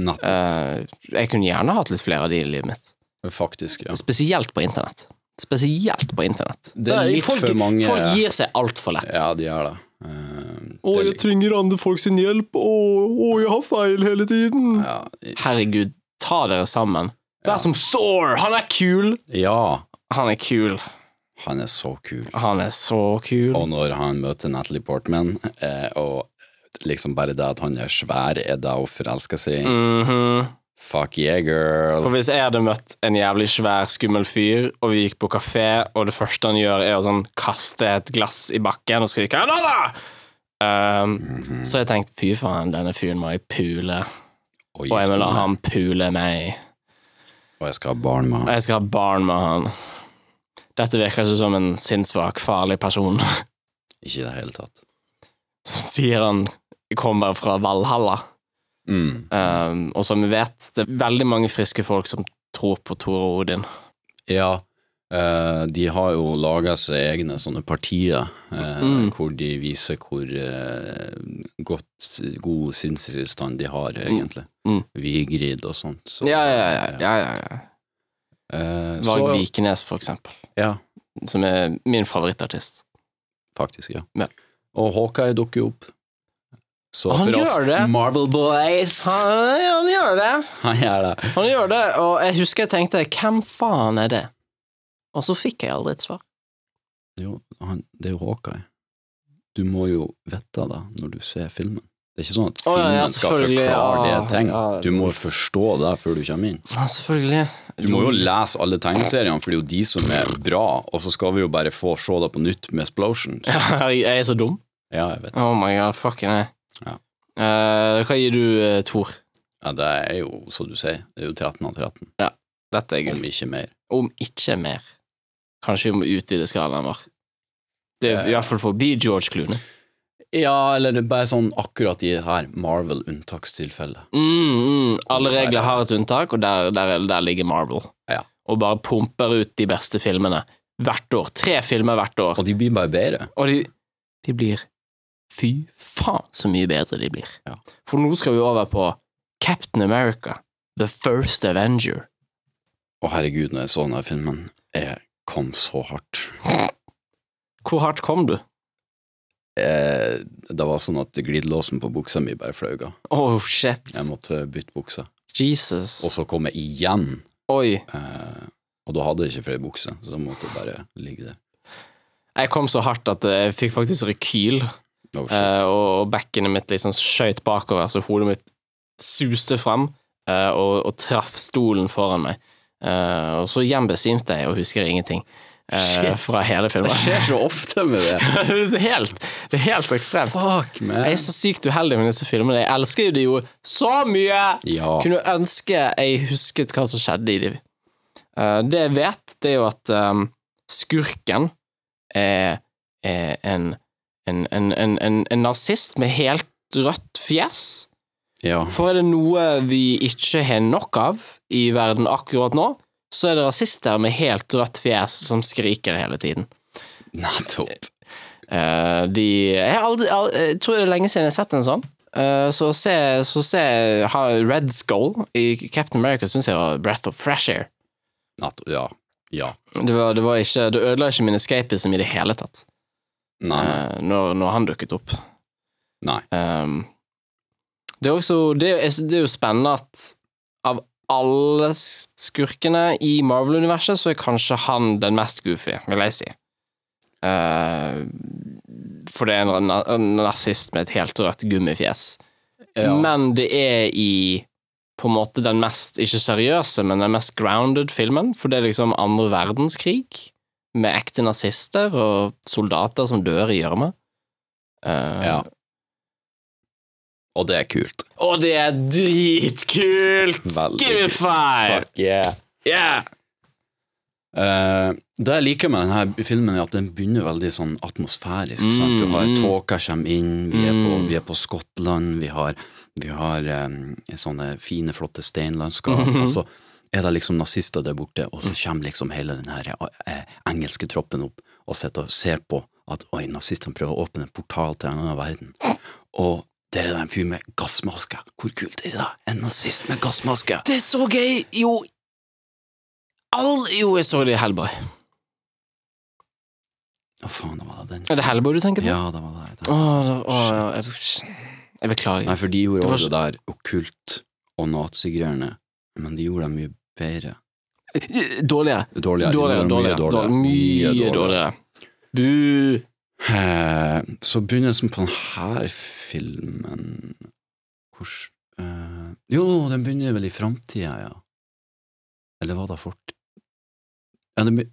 Speaker 5: Nettopp,
Speaker 4: Eh, jeg kunne gjerne hatt litt flere av de i livet mitt.
Speaker 5: Eh. faktisk. Ja.
Speaker 4: Spesielt på internett. Spesielt på internett.
Speaker 5: Det er
Speaker 4: Da-
Speaker 5: litt
Speaker 4: folk,
Speaker 5: for mange-
Speaker 4: folk gir seg altfor lett.
Speaker 5: ja, de er det. Eh,
Speaker 4: Å,
Speaker 5: det er
Speaker 4: jeg trenger andre folk sin hjelp. Å, å, jeg har feil hele tiden.
Speaker 5: Ja, i-
Speaker 4: Herregud, ta dere sammen. Vær som Thor! Han er kul!
Speaker 5: ja,
Speaker 4: Han er kul.
Speaker 5: han er så kul.
Speaker 4: Han er så kul.
Speaker 5: Og når han møter Natalie Portman, eh, og liksom bare det at han er svær, er det å forelske seg i.
Speaker 4: Mhm.
Speaker 5: Fuck yeah, girl.
Speaker 4: For hvis jeg hadde møtt en jævlig svær, skummel fyr, og vi gikk på kafé, og det første han gjør, er å sånn kaste et glass i bakken og skrike 'Hva da?' Um, Så jeg tenkte 'fy faen, denne fyren må jeg pule',
Speaker 5: Og,
Speaker 4: og jeg
Speaker 5: gifte
Speaker 4: vil la
Speaker 5: meg.
Speaker 4: han pule meg.
Speaker 5: og jeg skal ha barn med
Speaker 4: Og
Speaker 5: han.
Speaker 4: jeg skal ha barn med han. Dette virker ikke som en sinnssvak, farlig person
Speaker 5: Ikke i det hele tatt.
Speaker 4: som sier han kommer fra Valhalla.
Speaker 5: Mm.
Speaker 4: Um, og som vi vet, det er veldig mange friske folk som tror på Tor og Odin.
Speaker 5: Ja, eh, de har jo laga seg egne sånne partier, eh,
Speaker 4: Mm.
Speaker 5: hvor de viser hvor eh, godt, god sinnstilstand de har, egentlig.
Speaker 4: Mm.
Speaker 5: Vigrid og sånt. Så,
Speaker 4: Ja, ja, ja. ja, ja, ja.
Speaker 5: Eh,
Speaker 4: Varg
Speaker 5: så-
Speaker 4: Vikenes, for eksempel,
Speaker 5: Ja,
Speaker 4: som er min favorittartist.
Speaker 5: faktisk, ja.
Speaker 4: Ja.
Speaker 5: Og Hawkeye dukker jo opp. Så
Speaker 4: Han
Speaker 5: for oss
Speaker 4: gjør det.
Speaker 5: Marvel Boys!
Speaker 4: Han, han gjør det!
Speaker 5: Han gjør det.
Speaker 4: Han gjør det, og jeg husker jeg tenkte 'hvem faen er det?' Og så fikk jeg aldri et svar.
Speaker 5: Jo, han, det er jo Hawkeye. Du må jo vite det når du ser filmen. Det er ikke sånn at
Speaker 4: Å,
Speaker 5: filmen
Speaker 4: ja, ja,
Speaker 5: skal
Speaker 4: selvfølgelig,
Speaker 5: forklare
Speaker 4: ja,
Speaker 5: det ting.
Speaker 4: ja.
Speaker 5: Du må jo forstå det før du kommer inn.
Speaker 4: Ja, selvfølgelig.
Speaker 5: Du må jo lese alle tegneseriene, for det er jo de som er bra, og så skal vi jo bare få se det på nytt med Explosions.
Speaker 4: Jeg er så dum.
Speaker 5: Ja, jeg vet.
Speaker 4: Oh my god, fucking hell.
Speaker 5: Ja.
Speaker 4: Eh, hva gir du, eh, Tor?
Speaker 5: Ja, det er jo, som du sier, det er jo 13 av 13,
Speaker 4: Dette er gull.
Speaker 5: om ikke mer.
Speaker 4: Om ikke mer. Kanskje vi må utvide skalaen vår. Det er i hvert fall forbi George Clooney.
Speaker 5: Ja, eller det er bare sånn akkurat i her Marvel-unntakstilfellet.
Speaker 4: Mm, mm. Alle regler har et unntak, og der, der, der ligger Marvel.
Speaker 5: Ja.
Speaker 4: Og bare pumper ut de beste filmene hvert år. Tre filmer hvert år.
Speaker 5: Og de blir bare bedre.
Speaker 4: Og de, de blir Fy faen så mye bedre de blir.
Speaker 5: Ja.
Speaker 4: For nå skal vi over på Captain America, The First Avenger.
Speaker 5: Å herregud, når jeg så denne filmen, jeg kom så hardt.
Speaker 4: Hvor hardt kom du?
Speaker 5: Eh, det var sånn at glidelåsen på buksa mi bare fløy av.
Speaker 4: Oh shit.
Speaker 5: Jeg måtte bytte bukse.
Speaker 4: Jesus.
Speaker 5: Og så kom jeg igjen,
Speaker 4: Oi.
Speaker 5: eh, og da hadde jeg ikke flere bukser, så da måtte jeg bare ligge der.
Speaker 4: Jeg kom så hardt at jeg fikk faktisk rekyl,
Speaker 5: Oh, shit.
Speaker 4: eh, og, og bekkenet mitt liksom skjøt bakover, så hodet mitt suste fram eh, og, og traff stolen foran meg. Eh, og så gjenbesvimte jeg og husker ingenting eh,
Speaker 5: Shit.
Speaker 4: fra hele filmen.
Speaker 5: Det skjer så ofte med det.
Speaker 4: det, er helt, det er helt ekstremt.
Speaker 5: Fuck,
Speaker 4: Jeg
Speaker 5: man.
Speaker 4: er så sykt uheldig med disse filmene. Jeg elsker jo de jo så mye!
Speaker 5: Ja.
Speaker 4: Kunne ønske jeg husket hva som skjedde i de. Eh, det jeg vet, det er jo at eh, skurken er, er en, en, en, en, en, en nazist med helt rødt fjes.
Speaker 5: Ja.
Speaker 4: For er det noe vi ikke har nok av i verden akkurat nå, så er det rasister med helt rødt fjes som skriker hele tiden.
Speaker 5: Nettopp.
Speaker 4: Eh, de Jeg, har aldri, al- jeg tror det er lenge siden jeg har sett en sånn. Eh, så å se, så å se ha Red Skull i Captain America syns jeg var breath of fresh air.
Speaker 5: Nettopp. Ja. Ja.
Speaker 4: Det, var, det, var ikke, det ødela ikke min escapism i det hele tatt,
Speaker 5: Nei.
Speaker 4: eh, når, når han dukket opp.
Speaker 5: Nei.
Speaker 4: Ehm, det, er også, det, er, det er jo spennende at av alle skurkene i Marvel-universet, så er kanskje han den mest goofy, vil jeg si. Eh, for det er en, na- en nazist med et helt rødt gummifjes.
Speaker 5: Ja.
Speaker 4: Men det er i på en måte den mest, ikke seriøse, men den mest grounded filmen, for det er liksom andre verdenskrig, med ekte nazister og soldater som dør i gjørme. Eh,
Speaker 5: Ja. Og det er kult.
Speaker 4: og det er dritkult!
Speaker 5: Veldig
Speaker 4: Give me
Speaker 5: kult.
Speaker 4: five!
Speaker 5: yeah.
Speaker 4: Yeah!
Speaker 5: Eh, det jeg liker med denne filmen, er at den begynner veldig sånn atmosfærisk.
Speaker 4: Mm,
Speaker 5: sant? Du har
Speaker 4: mm.
Speaker 5: tåka kommer inn, vi er, på,
Speaker 4: Mm.
Speaker 5: vi er på Skottland, vi har, vi har eh, sånne fine, flotte steinlandskap.
Speaker 4: Mhm.
Speaker 5: Og så er det liksom nazister der borte, og så kommer liksom hele den her eh, engelske troppen opp og sitter og ser på at oi, nazistene prøver å åpne en portal til en annen verden. Og der er det en fyr med gassmaske. Hvor kult er det? En nazist med gassmaske!
Speaker 4: Det er så gøy! Jo All, Jo, jeg så det i Hellboy.
Speaker 5: Å, faen, det var den.
Speaker 4: Er det Hellboy du tenker på?
Speaker 5: Ja, det var det. jeg tenkte.
Speaker 4: Åh, det- åh, ja, jeg, jeg beklager.
Speaker 5: Nei, for de gjorde
Speaker 4: Det var
Speaker 5: også
Speaker 4: så-
Speaker 5: det der okkult og nazigreiene, men de gjorde det mye bedre.
Speaker 4: Dårligere.
Speaker 5: Dårligere. de
Speaker 4: Dårligere,
Speaker 5: gjorde det
Speaker 4: dårligere.
Speaker 5: mye
Speaker 4: dårligere. Mye dårligere. Bu
Speaker 5: Eh, Så begynnelsen på denne filmen Hvordan eh, Jo, den begynner vel i framtida, ja. Eller var det fort? Ja, den be-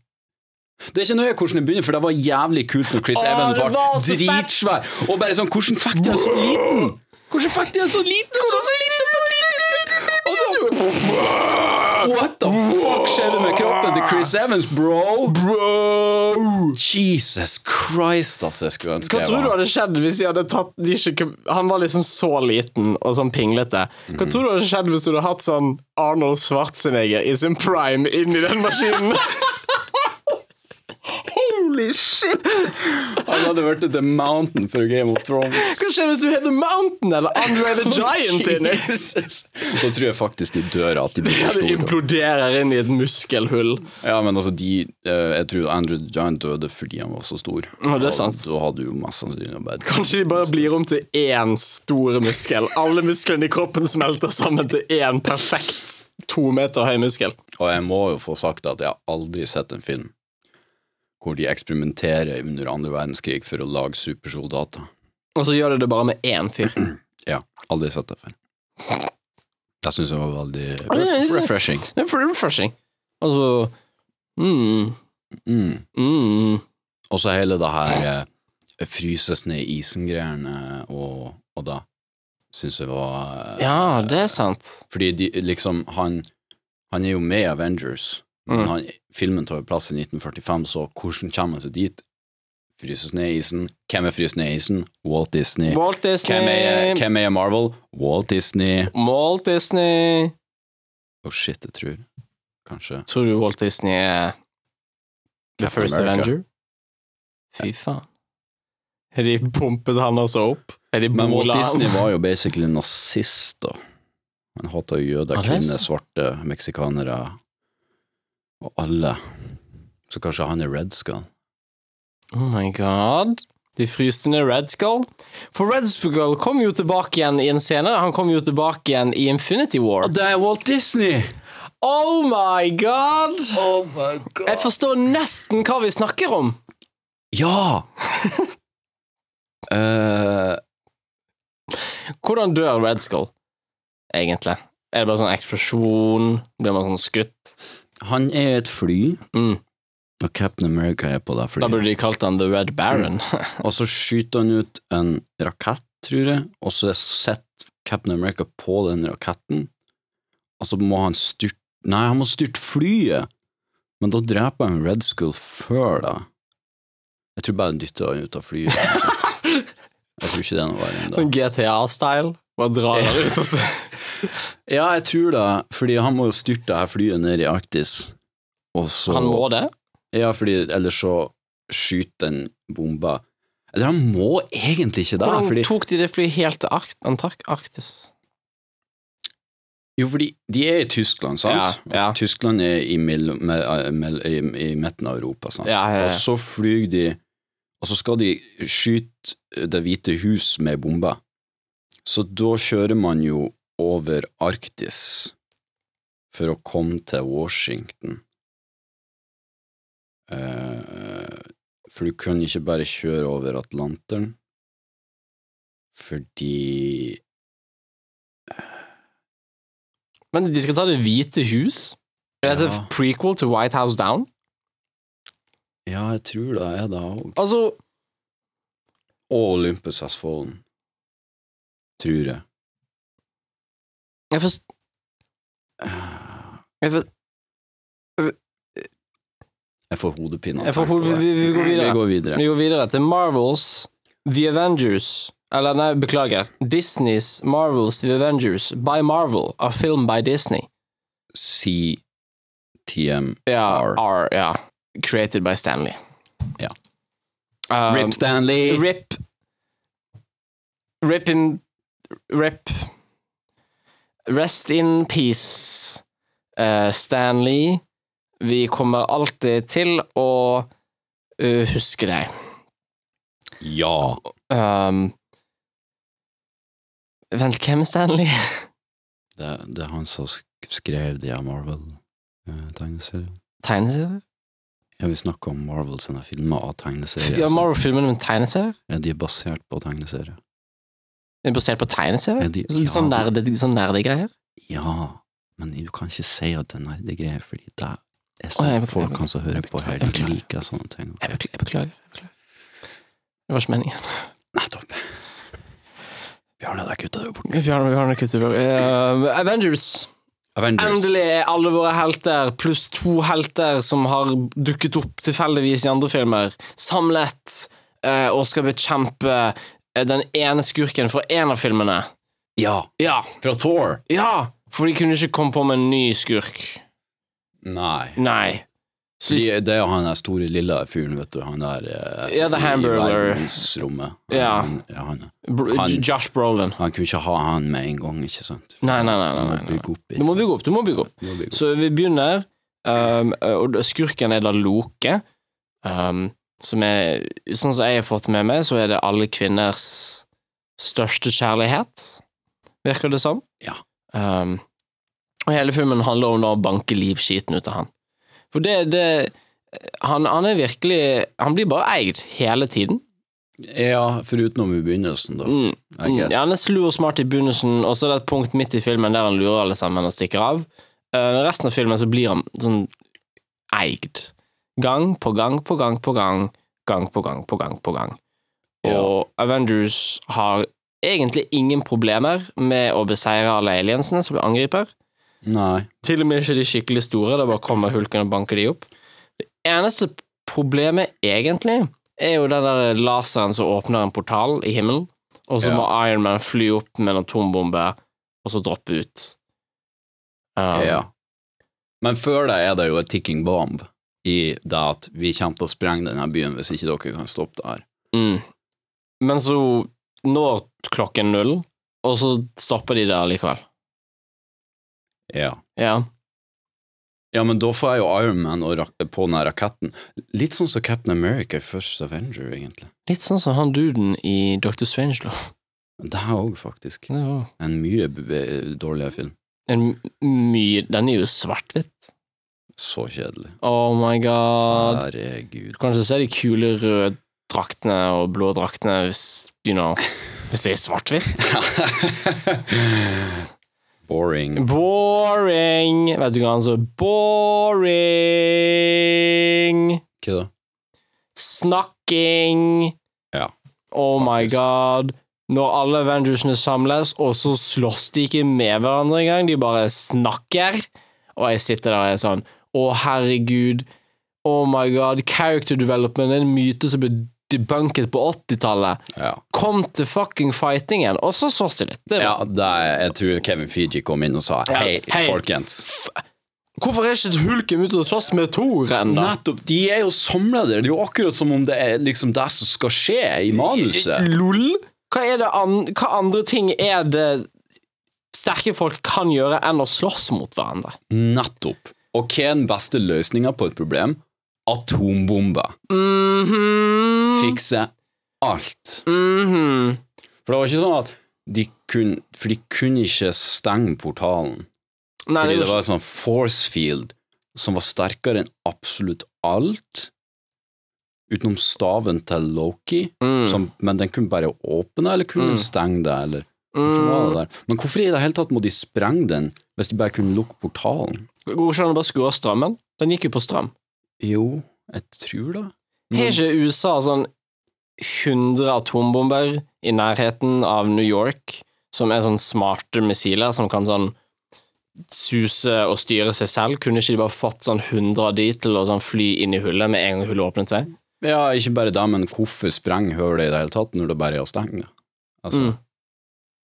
Speaker 5: det er ikke nøye hvordan det begynner, for det var jævlig kult når Chris
Speaker 4: Åh,
Speaker 5: Evans
Speaker 4: det
Speaker 5: var,
Speaker 4: var så fett!
Speaker 5: dritsvær. Og bare sånn, hvordan fikk de han så liten? Hvordan fikk de han så liten? Hvordan fikk de han så liten? Og så What the fuck skjedde med kroppen til Chris Evans, bro? Bro! Jesus Christ, altså, jeg skulle ønske
Speaker 4: Hva
Speaker 5: jeg
Speaker 4: tror du
Speaker 5: var.
Speaker 4: hadde skjedd hvis de hadde tatt de ikke, Han var liksom så liten og sånn pinglete. Hva tror du hadde skjedd hvis du hadde hatt sånn Arnold Schwarzenegger i sin prime inn i den maskinen? Holy shit!
Speaker 5: Han hadde vært The Mountain for Game of Thrones.
Speaker 4: Hva skjer hvis du heter Mountain eller Andre the Giant inni?
Speaker 5: Jesus. Da tror jeg faktisk de dør at de blir
Speaker 4: Ja,
Speaker 5: for
Speaker 4: det
Speaker 5: store.
Speaker 4: imploderer inn i et muskelhull.
Speaker 5: Ja, men altså, de, eh, jeg tror Andrew the Giant døde fordi han var så stor.
Speaker 4: Ja, det er sant.
Speaker 5: Og Da hadde jo mest sannsynlig bare
Speaker 4: Kanskje de bare blir om til én stor muskel. Alle musklene i kroppen smelter sammen til én perfekt to meter høy muskel.
Speaker 5: Og jeg må jo få sagt at jeg har aldri sett en film hvor de eksperimenterer under andre verdenskrig for å lage supersoldater.
Speaker 4: Og så gjør de det bare med én fyr.
Speaker 5: Ja, aldri sett det før. Jeg syns det var veldig
Speaker 4: det er litt sånn-
Speaker 5: refreshing.
Speaker 4: Det er refreshing. Altså mm,
Speaker 5: Mm.
Speaker 4: mm.
Speaker 5: Og så hele det her eh, fryses ned i isen-greiene og, og da syns jeg var eh,
Speaker 4: Ja, det er sant.
Speaker 5: Fordi de, liksom, han, han er jo med i Avengers, men
Speaker 4: Mm.
Speaker 5: han, filmen tar jo plass i 1945, så hvordan kommer han seg dit? Fryses ned i isen. Hvem er fryst ned i isen? Walt Disney.
Speaker 4: Walt
Speaker 5: Hvem, er,
Speaker 4: Disney.
Speaker 5: hvem er Marvel? Walt Disney.
Speaker 4: Walt Disney.
Speaker 5: Å, shit, jeg tror kanskje
Speaker 4: Tror du Walt Disney er The
Speaker 5: Captain
Speaker 4: First
Speaker 5: America.
Speaker 4: Avenger? Fy faen. Har de pumpet han også opp? Har de
Speaker 5: Men Walt
Speaker 4: bola han?
Speaker 5: Disney var jo basically nazist, da. Han hata jøder,
Speaker 4: Ah, det er
Speaker 5: kvinner,
Speaker 4: sant.
Speaker 5: svarte, meksikanere og alle. Så kanskje han er Red Skull?
Speaker 4: Oh my god. De fryste ned Red Skull. For Red Skull kom jo tilbake igjen i en senere. Han kom jo tilbake igjen i Infinity War.
Speaker 5: det er Walt Disney!
Speaker 4: Oh my god!
Speaker 5: Oh my god!
Speaker 4: Jeg forstår nesten hva vi snakker om.
Speaker 5: Ja! Eh,
Speaker 4: Hvordan dør Red Skull, egentlig? Er det bare sånn eksplosjon? Blir man sånn skutt?
Speaker 5: han er et fly,
Speaker 4: Mm.
Speaker 5: og Captain America er på det
Speaker 4: Da
Speaker 5: flyet.
Speaker 4: burde de kalt han The Red Baron.
Speaker 5: Og så skyter han ut en rakett, tror jeg, og så sitter Captain America på den raketten, og så må han styrte Nei, han må styrte flyet! Men da dreper han Red Skull før, da. Jeg tror bare han dytter han ut av flyet. Jeg tror ikke det er noe verre enn det.
Speaker 4: Sånn GTA-style. Bare drar der ut og så
Speaker 5: Ja, jeg tror det, fordi han må jo styrte det her flyet ned i Arktis, og så
Speaker 4: Han må det.
Speaker 5: Ja, fordi ellers så skyter den bomba. Eller han må egentlig ikke det,
Speaker 4: Hvordan
Speaker 5: fordi
Speaker 4: tok de det flyet helt til Arkt Antark Arktis?
Speaker 5: Jo, fordi de er i Tyskland, sant?
Speaker 4: Ja, ja.
Speaker 5: Tyskland er i, mellom- me- mell- i, i midten av Europa, sant?
Speaker 4: Ja, ja, ja.
Speaker 5: Og så flyr de, og så skal de skyte eh, Det hvite hus med bomber. Så da kjører man jo over Arktis for å komme til Washington. Eh, for du kan ikke bare kjøre over Atlanteren, fordi
Speaker 4: Men de skal ta Det hvite hus? Er det
Speaker 5: Ja.
Speaker 4: prequel til White House Down?
Speaker 5: Ja, jeg tror det er det òg.
Speaker 4: Altså,
Speaker 5: og Olympus has fallen. Tror jeg.
Speaker 4: jeg forst... Jeg forst...
Speaker 5: Jeg får hodepine. av
Speaker 4: Jeg får
Speaker 5: å tenke på
Speaker 4: hode-
Speaker 5: det.
Speaker 4: vi- vi går videre.
Speaker 5: Vi går videre.
Speaker 4: Vi går videre til Marvels The Avengers Eller nei, beklager. Disneys Marvels The Avengers by Marvel, a film by Disney.
Speaker 5: CTM.
Speaker 4: Ja,
Speaker 5: R.
Speaker 4: R. ja. Created by Stanley.
Speaker 5: Ja.
Speaker 4: Um,
Speaker 5: Rip Stanley!
Speaker 4: Rip Rip in Rip Rest in peace, eh, Stan Lee. Vi kommer alltid til å eh, huske deg.
Speaker 5: Ja.
Speaker 4: Um, vent, hvem er Stan Lee?
Speaker 5: Det, det er han som sk- skrev de her Marvel-tegneseriene.
Speaker 4: Tegneserie?
Speaker 5: Ja, vi snakker om Marvel sine filmer av tegneserier.
Speaker 4: Ja,
Speaker 5: sant?
Speaker 4: Marvel-filmene med tegneserier?
Speaker 5: Ja, de er basert på tegneserier.
Speaker 4: Er det Basert på
Speaker 5: Ja,
Speaker 4: tegneserier?
Speaker 5: de-
Speaker 4: Sånn- Sånn
Speaker 5: ja,
Speaker 4: nerde- sånn nerdegreier?
Speaker 5: Ja, men du kan ikke si at det er nerdegreier, fordi det er sånn
Speaker 4: Å, jeg beklager.
Speaker 5: folk kan så høre på her,
Speaker 4: Jeg
Speaker 5: de
Speaker 4: beklager.
Speaker 5: liker sånne ting.
Speaker 4: Jeg beklager. Jeg beklager. jeg beklager. Det var ikke meningen.
Speaker 5: Nettopp. Bjarne, der gutta er jo borte.
Speaker 4: Bjørn, Bjørn og Kutter, eh, Avengers. Endelig er alle våre helter, pluss to helter som har dukket opp tilfeldigvis i andre filmer, samlet eh, og skal bekjempe eh, den ene skurken fra en av filmene.
Speaker 5: Ja,
Speaker 4: Ja,
Speaker 5: fra Thor.
Speaker 4: ja! For de kunne ikke komme på med en ny skurk.
Speaker 5: Nei.
Speaker 4: Nei. Så i
Speaker 5: De, det er jo han der store lilla fyren, vet du. Han der eh,
Speaker 4: Ja, The
Speaker 5: i-
Speaker 4: Hamburger.
Speaker 5: I verdensrommet.
Speaker 4: Ja.
Speaker 5: Han, ja, han,
Speaker 4: Bro-
Speaker 5: Han-
Speaker 4: Josh Brolin.
Speaker 5: han kunne ikke ha han med en gang, ikke sant?
Speaker 4: Nei, nei, nei, nei,
Speaker 5: Du må
Speaker 4: nei, nei.
Speaker 5: bygge opp.
Speaker 4: Du må bygge opp, du må bygge opp.
Speaker 5: Du må bygge opp.
Speaker 4: Så vi begynner, um, og da- skurken er da Loke. Um, som er, sånn som jeg har fått med meg, så er det alle kvinners største kjærlighet, virker det som.
Speaker 5: Ja.
Speaker 4: Um, og hele filmen handler om da å banke livskiten ut av han. For det, det han, han er virkelig Han blir bare eid hele tiden.
Speaker 5: Ja, forutenom i begynnelsen, da.
Speaker 4: Mm.
Speaker 5: I
Speaker 4: Mm,
Speaker 5: guess.
Speaker 4: Ja, han er slu og smart i begynnelsen, og så er det et punkt midt i filmen der han lurer alle sammen og stikker av. Eh, resten av filmen så blir han sånn eid. Gang på gang på gang på gang. Gang på gang på gang på gang. Og Avengers har egentlig ingen problemer med å beseire alle aliensene som blir angriper.
Speaker 5: Nei.
Speaker 4: Til og med ikke de skikkelig store. Det bare kommer hulken og banker de opp. Det eneste problemet, egentlig, er jo den der laseren som åpner en portal i himmelen, og så
Speaker 5: Ja.
Speaker 4: må Iron Man fly opp med en atombombe, og så droppe ut. Um,
Speaker 5: Ja. Men før det er det jo et ticking bomb i det at vi kommer til å sprenge denne byen hvis ikke dere kan stoppe det her.
Speaker 4: Mm. Men så når klokken null, og så stopper de der likevel.
Speaker 5: Ja.
Speaker 4: Ja.
Speaker 5: Ja, men da får jeg jo Iron Man og rak på den her raketten. Litt sånn som Captain America i First Avenger, egentlig.
Speaker 4: Litt sånn som han duden i Dr. Strangelove.
Speaker 5: Det er òg faktisk
Speaker 4: Det var
Speaker 5: en mye b- b- dårligere film.
Speaker 4: En mye Den er jo svart-hvitt.
Speaker 5: Så kjedelig.
Speaker 4: Oh my god.
Speaker 5: Herregud.
Speaker 4: Kanskje se de kule røde draktene og blå draktene hvis, you know, hvis det er svart-hvitt.
Speaker 5: Boring.
Speaker 4: Boring! Vet du hva han sa? Boring!
Speaker 5: Ikke det?
Speaker 4: Snakking!
Speaker 5: Ja,
Speaker 4: Oh my
Speaker 5: faktisk.
Speaker 4: god. Når alle Avengersene samles, og så slåss de ikke med hverandre engang, de bare snakker, og jeg sitter der og er sånn Å, herregud. Oh my god. Character development er en myte som ble debunket på 80-tallet.
Speaker 5: Ja.
Speaker 4: Kom til fucking fightingen, og så sås det litt. Det
Speaker 5: Ja,
Speaker 4: var,
Speaker 5: det, jeg tror Kevin Fiji kom inn og sa Hei,
Speaker 4: Hei.
Speaker 5: folkens.
Speaker 4: Hvorfor er ikke hulken ute og slåss med Thor ennå?
Speaker 5: Nettopp! De er jo samla der. Det er jo akkurat som om det er liksom det som skal skje i manuset.
Speaker 4: Lol? Hva, er det an Hva andre ting er det sterke folk kan gjøre enn å slåss mot hverandre?
Speaker 5: Nettopp. Og hva er den beste løsninga på et problem? Atombomber.
Speaker 4: Mhm.
Speaker 5: Fikse alt.
Speaker 4: Mhm.
Speaker 5: For det var ikke sånn at de kunne For de kunne ikke stenge portalen.
Speaker 4: Nei,
Speaker 5: Fordi
Speaker 4: det
Speaker 5: det
Speaker 4: var
Speaker 5: var en sånn force field som var sterkere enn absolutt alt, utenom staven til Loki,
Speaker 4: Mm.
Speaker 5: som, men den kunne bare åpne, eller kunne den stenge det, eller
Speaker 4: Mm.
Speaker 5: hvordan var det der? Men hvorfor i det hele tatt må de sprenge den, hvis de bare kunne lukke portalen?
Speaker 4: Går ikke an å bare skru av strømmen? Den gikk jo på strøm.
Speaker 5: Jo, jeg tror det.
Speaker 4: Har ikke USA sånn 100 atombomber i nærheten av New York, som er sånn smarte missiler som kan sånn suse og styre seg selv? Kunne ikke de bare fått sånn 100 av de til å sånn fly inn i hullet med en gang hullet åpnet seg?
Speaker 5: Ja, ikke bare det, men hvorfor sprenge hølet i det hele tatt, når det bare er å stenge det? Altså,
Speaker 4: Mm.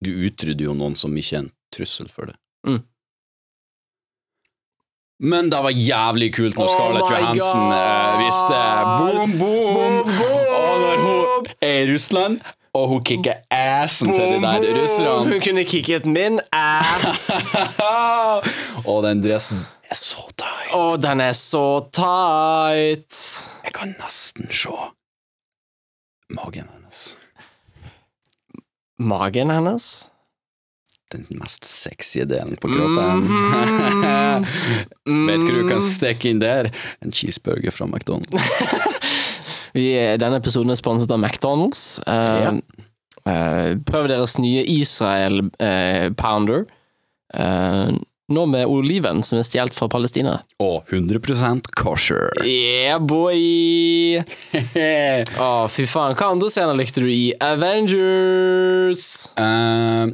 Speaker 5: du utrydder jo noen som ikke er en trussel for det.
Speaker 4: Mm.
Speaker 5: Men det var jævlig kult når
Speaker 4: Oh
Speaker 5: Scarlett
Speaker 4: my
Speaker 5: Johansen
Speaker 4: God!
Speaker 5: eh, visste boom, boom, Og når hun er i Russland, og hun kicker assen til de der russerne
Speaker 4: Hun kunne kicket min ass!
Speaker 5: Og den dressen er så tight.
Speaker 4: Å, den er så tight!
Speaker 5: Jeg kan nesten se magen hennes.
Speaker 4: Magen hennes?
Speaker 5: Den mest sexy delen på kroppen.
Speaker 4: Mhm.
Speaker 5: Vet ikke du
Speaker 4: Mm.
Speaker 5: kan stikke inn der? En cheeseburger fra McDonald's.
Speaker 4: Mm. Vi, denne episoden er sponset av McDonald's. Eh, eh, prøv deres nye Israel eh, Pounder. Eh, nå med oliven som er stjålet fra Palestina.
Speaker 5: Og 100 kosher. Eh,
Speaker 4: Yeah, boy! Å, fy faen. Hva andre scener likte du i Avengers?
Speaker 5: Eh,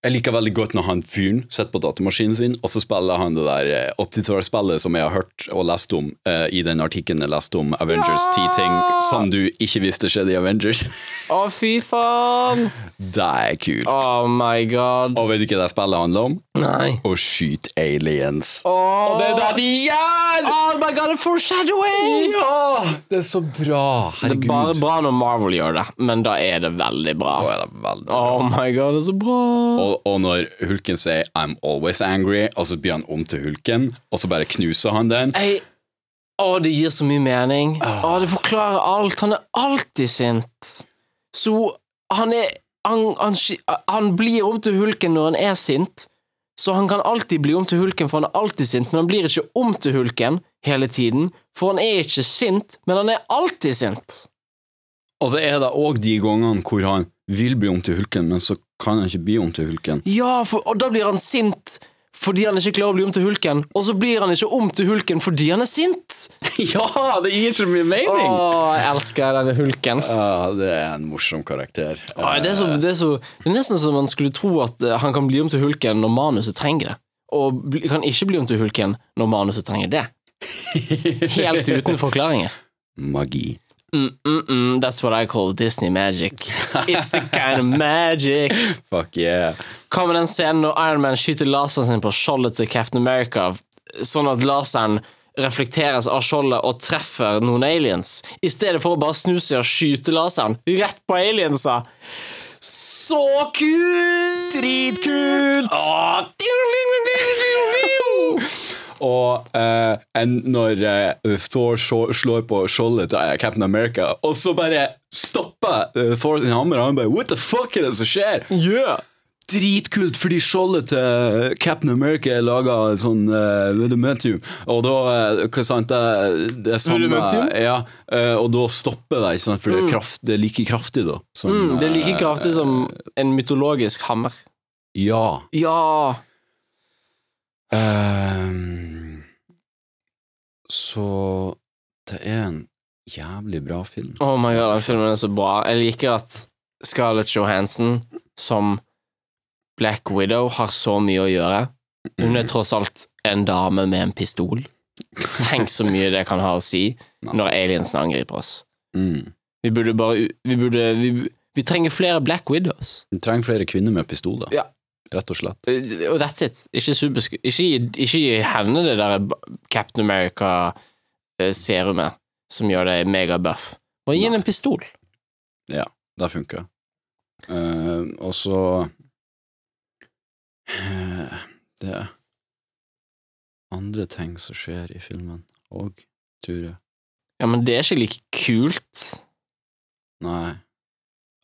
Speaker 5: jeg liker veldig godt når han fyren sitter på datamaskinen sin, og så spiller han det der eh, 80-tallsspillet som jeg har hørt og lest om eh, i den artikkelen jeg leste om Avengers 10 ting som du ikke visste skjedde i Avengers.
Speaker 4: Å, fy faen!
Speaker 5: Det er kult.
Speaker 4: Oh my god.
Speaker 5: Og vet du hva det spillet handler om?
Speaker 4: Nei.
Speaker 5: Å skyte aliens.
Speaker 4: Oh,
Speaker 5: Det er det de gjør!
Speaker 4: oh my god, det er foreshadowing!
Speaker 5: Ja! Det er så bra.
Speaker 4: Det
Speaker 5: Herregud.
Speaker 4: er bare bra når Marvel gjør det, men da er det veldig bra.
Speaker 5: Da er det veldig bra.
Speaker 4: Oh my god, det er så bra!
Speaker 5: Og, og når hulken sier 'I'm always angry', og så blir han om til hulken, og så bare knuser han den.
Speaker 4: Jeg, å, det gir så mye mening. Å, det forklarer alt. Han er alltid sint. Så han er han, han, sk- han blir om til hulken når han er sint, så han kan alltid bli om til hulken, for han er alltid sint, men han blir ikke om til hulken hele tiden, for han er ikke sint, men han er alltid sint.
Speaker 5: Og så er det òg de gangene hvor han vil bli om til hulken, men så kan han ikke bli om til hulken.
Speaker 4: Ja, for, og da blir han sint fordi han ikke klarer å bli om til hulken, og så blir han ikke om til hulken fordi han er sint.
Speaker 5: ja, det gir så mye
Speaker 4: Å,
Speaker 5: mening!
Speaker 4: jeg elsker denne hulken.
Speaker 5: Ja, det er en morsom karakter.
Speaker 4: Åh, det, er så, det, er så, det er nesten som man skulle tro at eh, han kan bli om til hulken når manuset trenger det. Og bli, kan ikke bli om til hulken når manuset trenger det. Helt uten forklaringer.
Speaker 5: Magi.
Speaker 4: Mm, mm, mm, that's what I call Disney magic. It's a kind of magic.
Speaker 5: Fuck yeah.
Speaker 4: Hva med den scenen når Iron Man skyter laseren sin på skjoldet til Captain America, sånn at laseren reflekteres av skjoldet og treffer noen aliens, i stedet for å bare snu seg og skyte laseren rett på aliensa? Så kult! Dritkult!
Speaker 5: Og eh, en, når eh, Thor sjå- slår på skjoldet til eh, Captain America, og så bare stopper eh, Thor sin hammer, og han bare What the fuck er det som skjer?
Speaker 4: Yeah.
Speaker 5: Dritkult, fordi skjoldet til eh, Captain America er laga sånn uh, Vedumentum. Og da eh, Hva sant, det, det er samme
Speaker 4: Adamantium?
Speaker 5: Ja, eh, og da stopper det, ikke sant, for det er, kraft, det er like kraftig, da. Som,
Speaker 4: Mm, det er like
Speaker 5: eh,
Speaker 4: kraftig som en mytologisk hammer.
Speaker 5: Ja.
Speaker 4: Ja.
Speaker 5: Ehm, så det er en jævlig bra film.
Speaker 4: Oh my god, den filmen er så bra. Jeg liker at Scarlett Johansen som Black Widow har så mye å gjøre. Hun er tross alt en dame med en pistol. Tenk så mye det kan ha å si når aliensene angriper oss.
Speaker 5: Mm.
Speaker 4: Vi burde bare Vi, burde, vi, vi trenger flere Black Widows.
Speaker 5: Vi trenger flere kvinner med pistoler,
Speaker 4: Ja.
Speaker 5: rett og slett.
Speaker 4: Eh, Og that's it. Ikke, supersku, ikke, gi- ikke gi henne det der Captain America-serumet som gjør deg megabuff. Bare gi henne en pistol.
Speaker 5: Det funker. Eh, og så eh, Det er andre ting som skjer i filmen òg, tror jeg.
Speaker 4: Ja, men det er ikke like kult.
Speaker 5: Nei.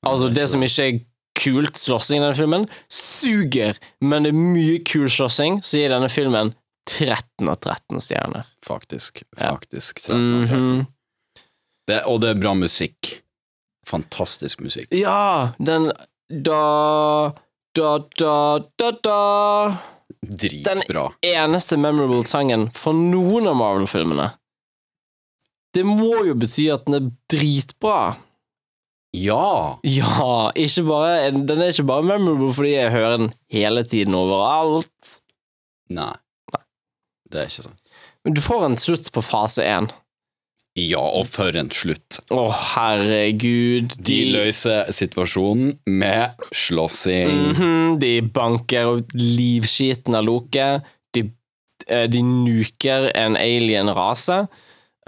Speaker 4: Altså, det som ikke er kult slåssing i denne filmen, suger, men det er mye kul slåssing, så gir denne filmen 13 av 13 stjerner.
Speaker 5: Faktisk.
Speaker 4: Ja.
Speaker 5: Faktisk. 13 av 13.
Speaker 4: Mhm.
Speaker 5: det, og det er bra musikk. Fantastisk musikk.
Speaker 4: Ja, den da da, da, da, da
Speaker 5: Dritbra.
Speaker 4: Eneste memorable sangen for noen av Marvel-filmene. Det må jo bety at den er dritbra.
Speaker 5: Ja!
Speaker 4: Ja, ikke bare, den er ikke bare memorable fordi jeg hører den hele tiden overalt.
Speaker 5: Nei. Det er ikke sånn.
Speaker 4: Men du får en slutt på fase én.
Speaker 5: Ja, og for en slutt.
Speaker 4: Å, herregud.
Speaker 5: De løser situasjonen med slåssing.
Speaker 4: Mhm, de banker opp livskiten av Loke. De, eh, de nuker en alien-rase.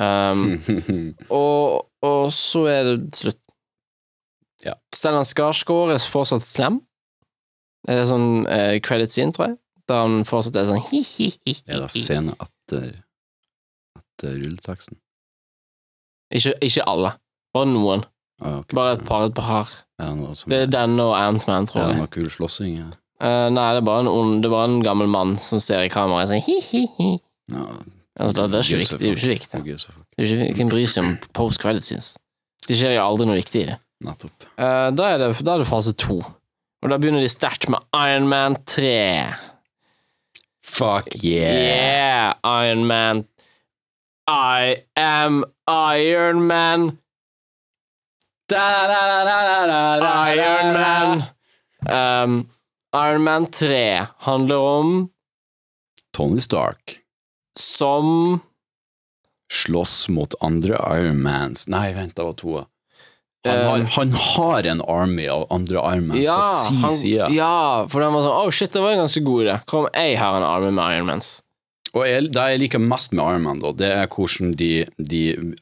Speaker 4: Um,
Speaker 5: Hmm.
Speaker 4: og, og så er det slutt.
Speaker 5: Ja.
Speaker 4: Stellan Skarsgård er fortsatt slem. Det er sånn eh, credit scene, tror jeg. Da han fortsatt er sånn hi-hi-hi.
Speaker 5: er det scene etter Etter rulleteksten?
Speaker 4: Ikke, ikke alle. Bare noen.
Speaker 5: Ah, ok.
Speaker 4: Bare et par. et par.
Speaker 5: Er det noe som
Speaker 4: Det
Speaker 5: er
Speaker 4: er denne og Ant-Man, tror
Speaker 5: det
Speaker 4: jeg.
Speaker 5: noe kul slåssing? Ja.
Speaker 4: Eh, nei, det er bare en ond Det er bare en gammel mann som ser i kameraet og sier hi-hi-hi.
Speaker 5: Ja,
Speaker 4: Altså, det, det er ikke
Speaker 5: gives
Speaker 4: viktig.
Speaker 5: a
Speaker 4: Det er jo ikke
Speaker 5: fuck. Who gives
Speaker 4: viktig.
Speaker 5: a fuck?
Speaker 4: Det er jo ikke, Hvem bryr seg om post credit scenes? Det skjer jo aldri noe viktig i det.
Speaker 5: Nettopp.
Speaker 4: Eh, da, er det, da er det fase to. Og da begynner de sterkt med Iron Man 3.
Speaker 5: Fuck
Speaker 4: Yeah, Iron Man. I am Iron Man. Iron Man. Um, Iron Man 3 handler om
Speaker 5: Tony Stark
Speaker 4: som
Speaker 5: slåss mot andre Iron Mans. Nei, vent, det var to. Han har,
Speaker 4: Eh,
Speaker 5: han har en army av andre Iron Mans
Speaker 4: ja,
Speaker 5: på si
Speaker 4: han,
Speaker 5: side.
Speaker 4: ja, for den var sånn Oh shit, det var en ganske god idé. Hva om jeg har en arme med Iron Mans?
Speaker 5: Og jeg, det jeg liker mest med Iron Man, da, det er hvordan de, de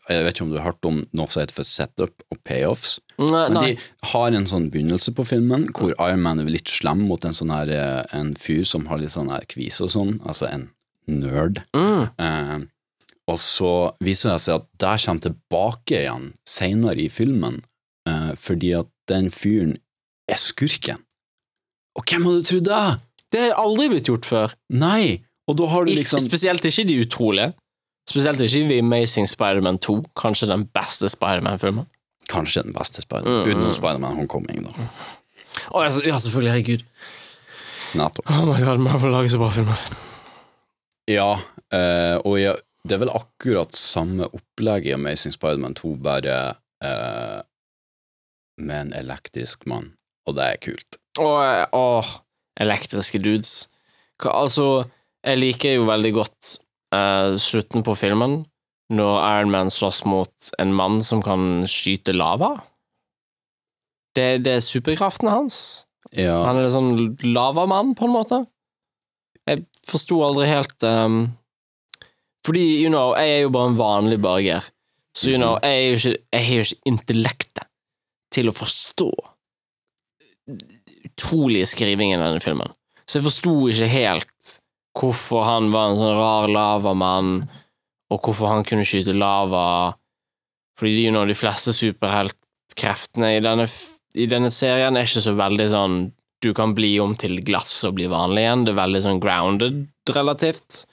Speaker 5: Jeg vet ikke om du har hørt om noe som heter for setup og payoffs.
Speaker 4: Nei,
Speaker 5: Men
Speaker 4: nei.
Speaker 5: de har en sånn begynnelse på filmen hvor Iron Man er litt slem mot en sånn her eh, En fyr som har litt sånn her kvise og sånn, altså en nerd.
Speaker 4: Mm.
Speaker 5: Eh, og så viser det seg at det kommer tilbake igjen seinere i filmen, eh, fordi at den fyren er skurken. Og hvem hadde trodd det?
Speaker 4: Det har aldri blitt gjort før.
Speaker 5: Nei! Og da har du
Speaker 4: Ik-
Speaker 5: liksom
Speaker 4: Spesielt ikke de utrolige. Spesielt ikke The Amazing Spider-Man 2, kanskje den beste Spider-Man-filmen.
Speaker 5: Kanskje den beste Spider-Man,
Speaker 4: Mm.
Speaker 5: utenom Spider-Man Homecoming, da.
Speaker 4: Å, ja, så- ja, selvfølgelig, herregud.
Speaker 5: Nettopp.
Speaker 4: Oh my god, Marvel lager så bra filmer.
Speaker 5: Ja, eh, og ja, det er vel akkurat samme opplegg i Amazing Spider-Man 2, bare eh, med en elektrisk mann, og det er kult.
Speaker 4: Og, eh, åh, elektriske dudes. Hva, altså, jeg liker jo veldig godt eh, slutten på filmen, når Iron Man slåss mot en mann som kan skyte lava. Det, det er superkraften hans.
Speaker 5: Ja,
Speaker 4: Han er en sånn lavamann, på en måte. Jeg forsto aldri helt ehm, Fordi, you know, jeg er jo bare en vanlig borger. Så, you know, jeg er jo ikke, jeg har jo ikke intellektet til å forstå utrolige skrivingen i denne filmen. Så jeg forsto ikke helt hvorfor han var en sånn rar lavamann, og hvorfor han kunne skyte lava. Fordi, you know, de fleste superheltkreftene i denne, f- i denne serien er ikke så veldig sånn du kan bli om til glass og bli vanlig igjen. Det er veldig sånn grounded, relativt.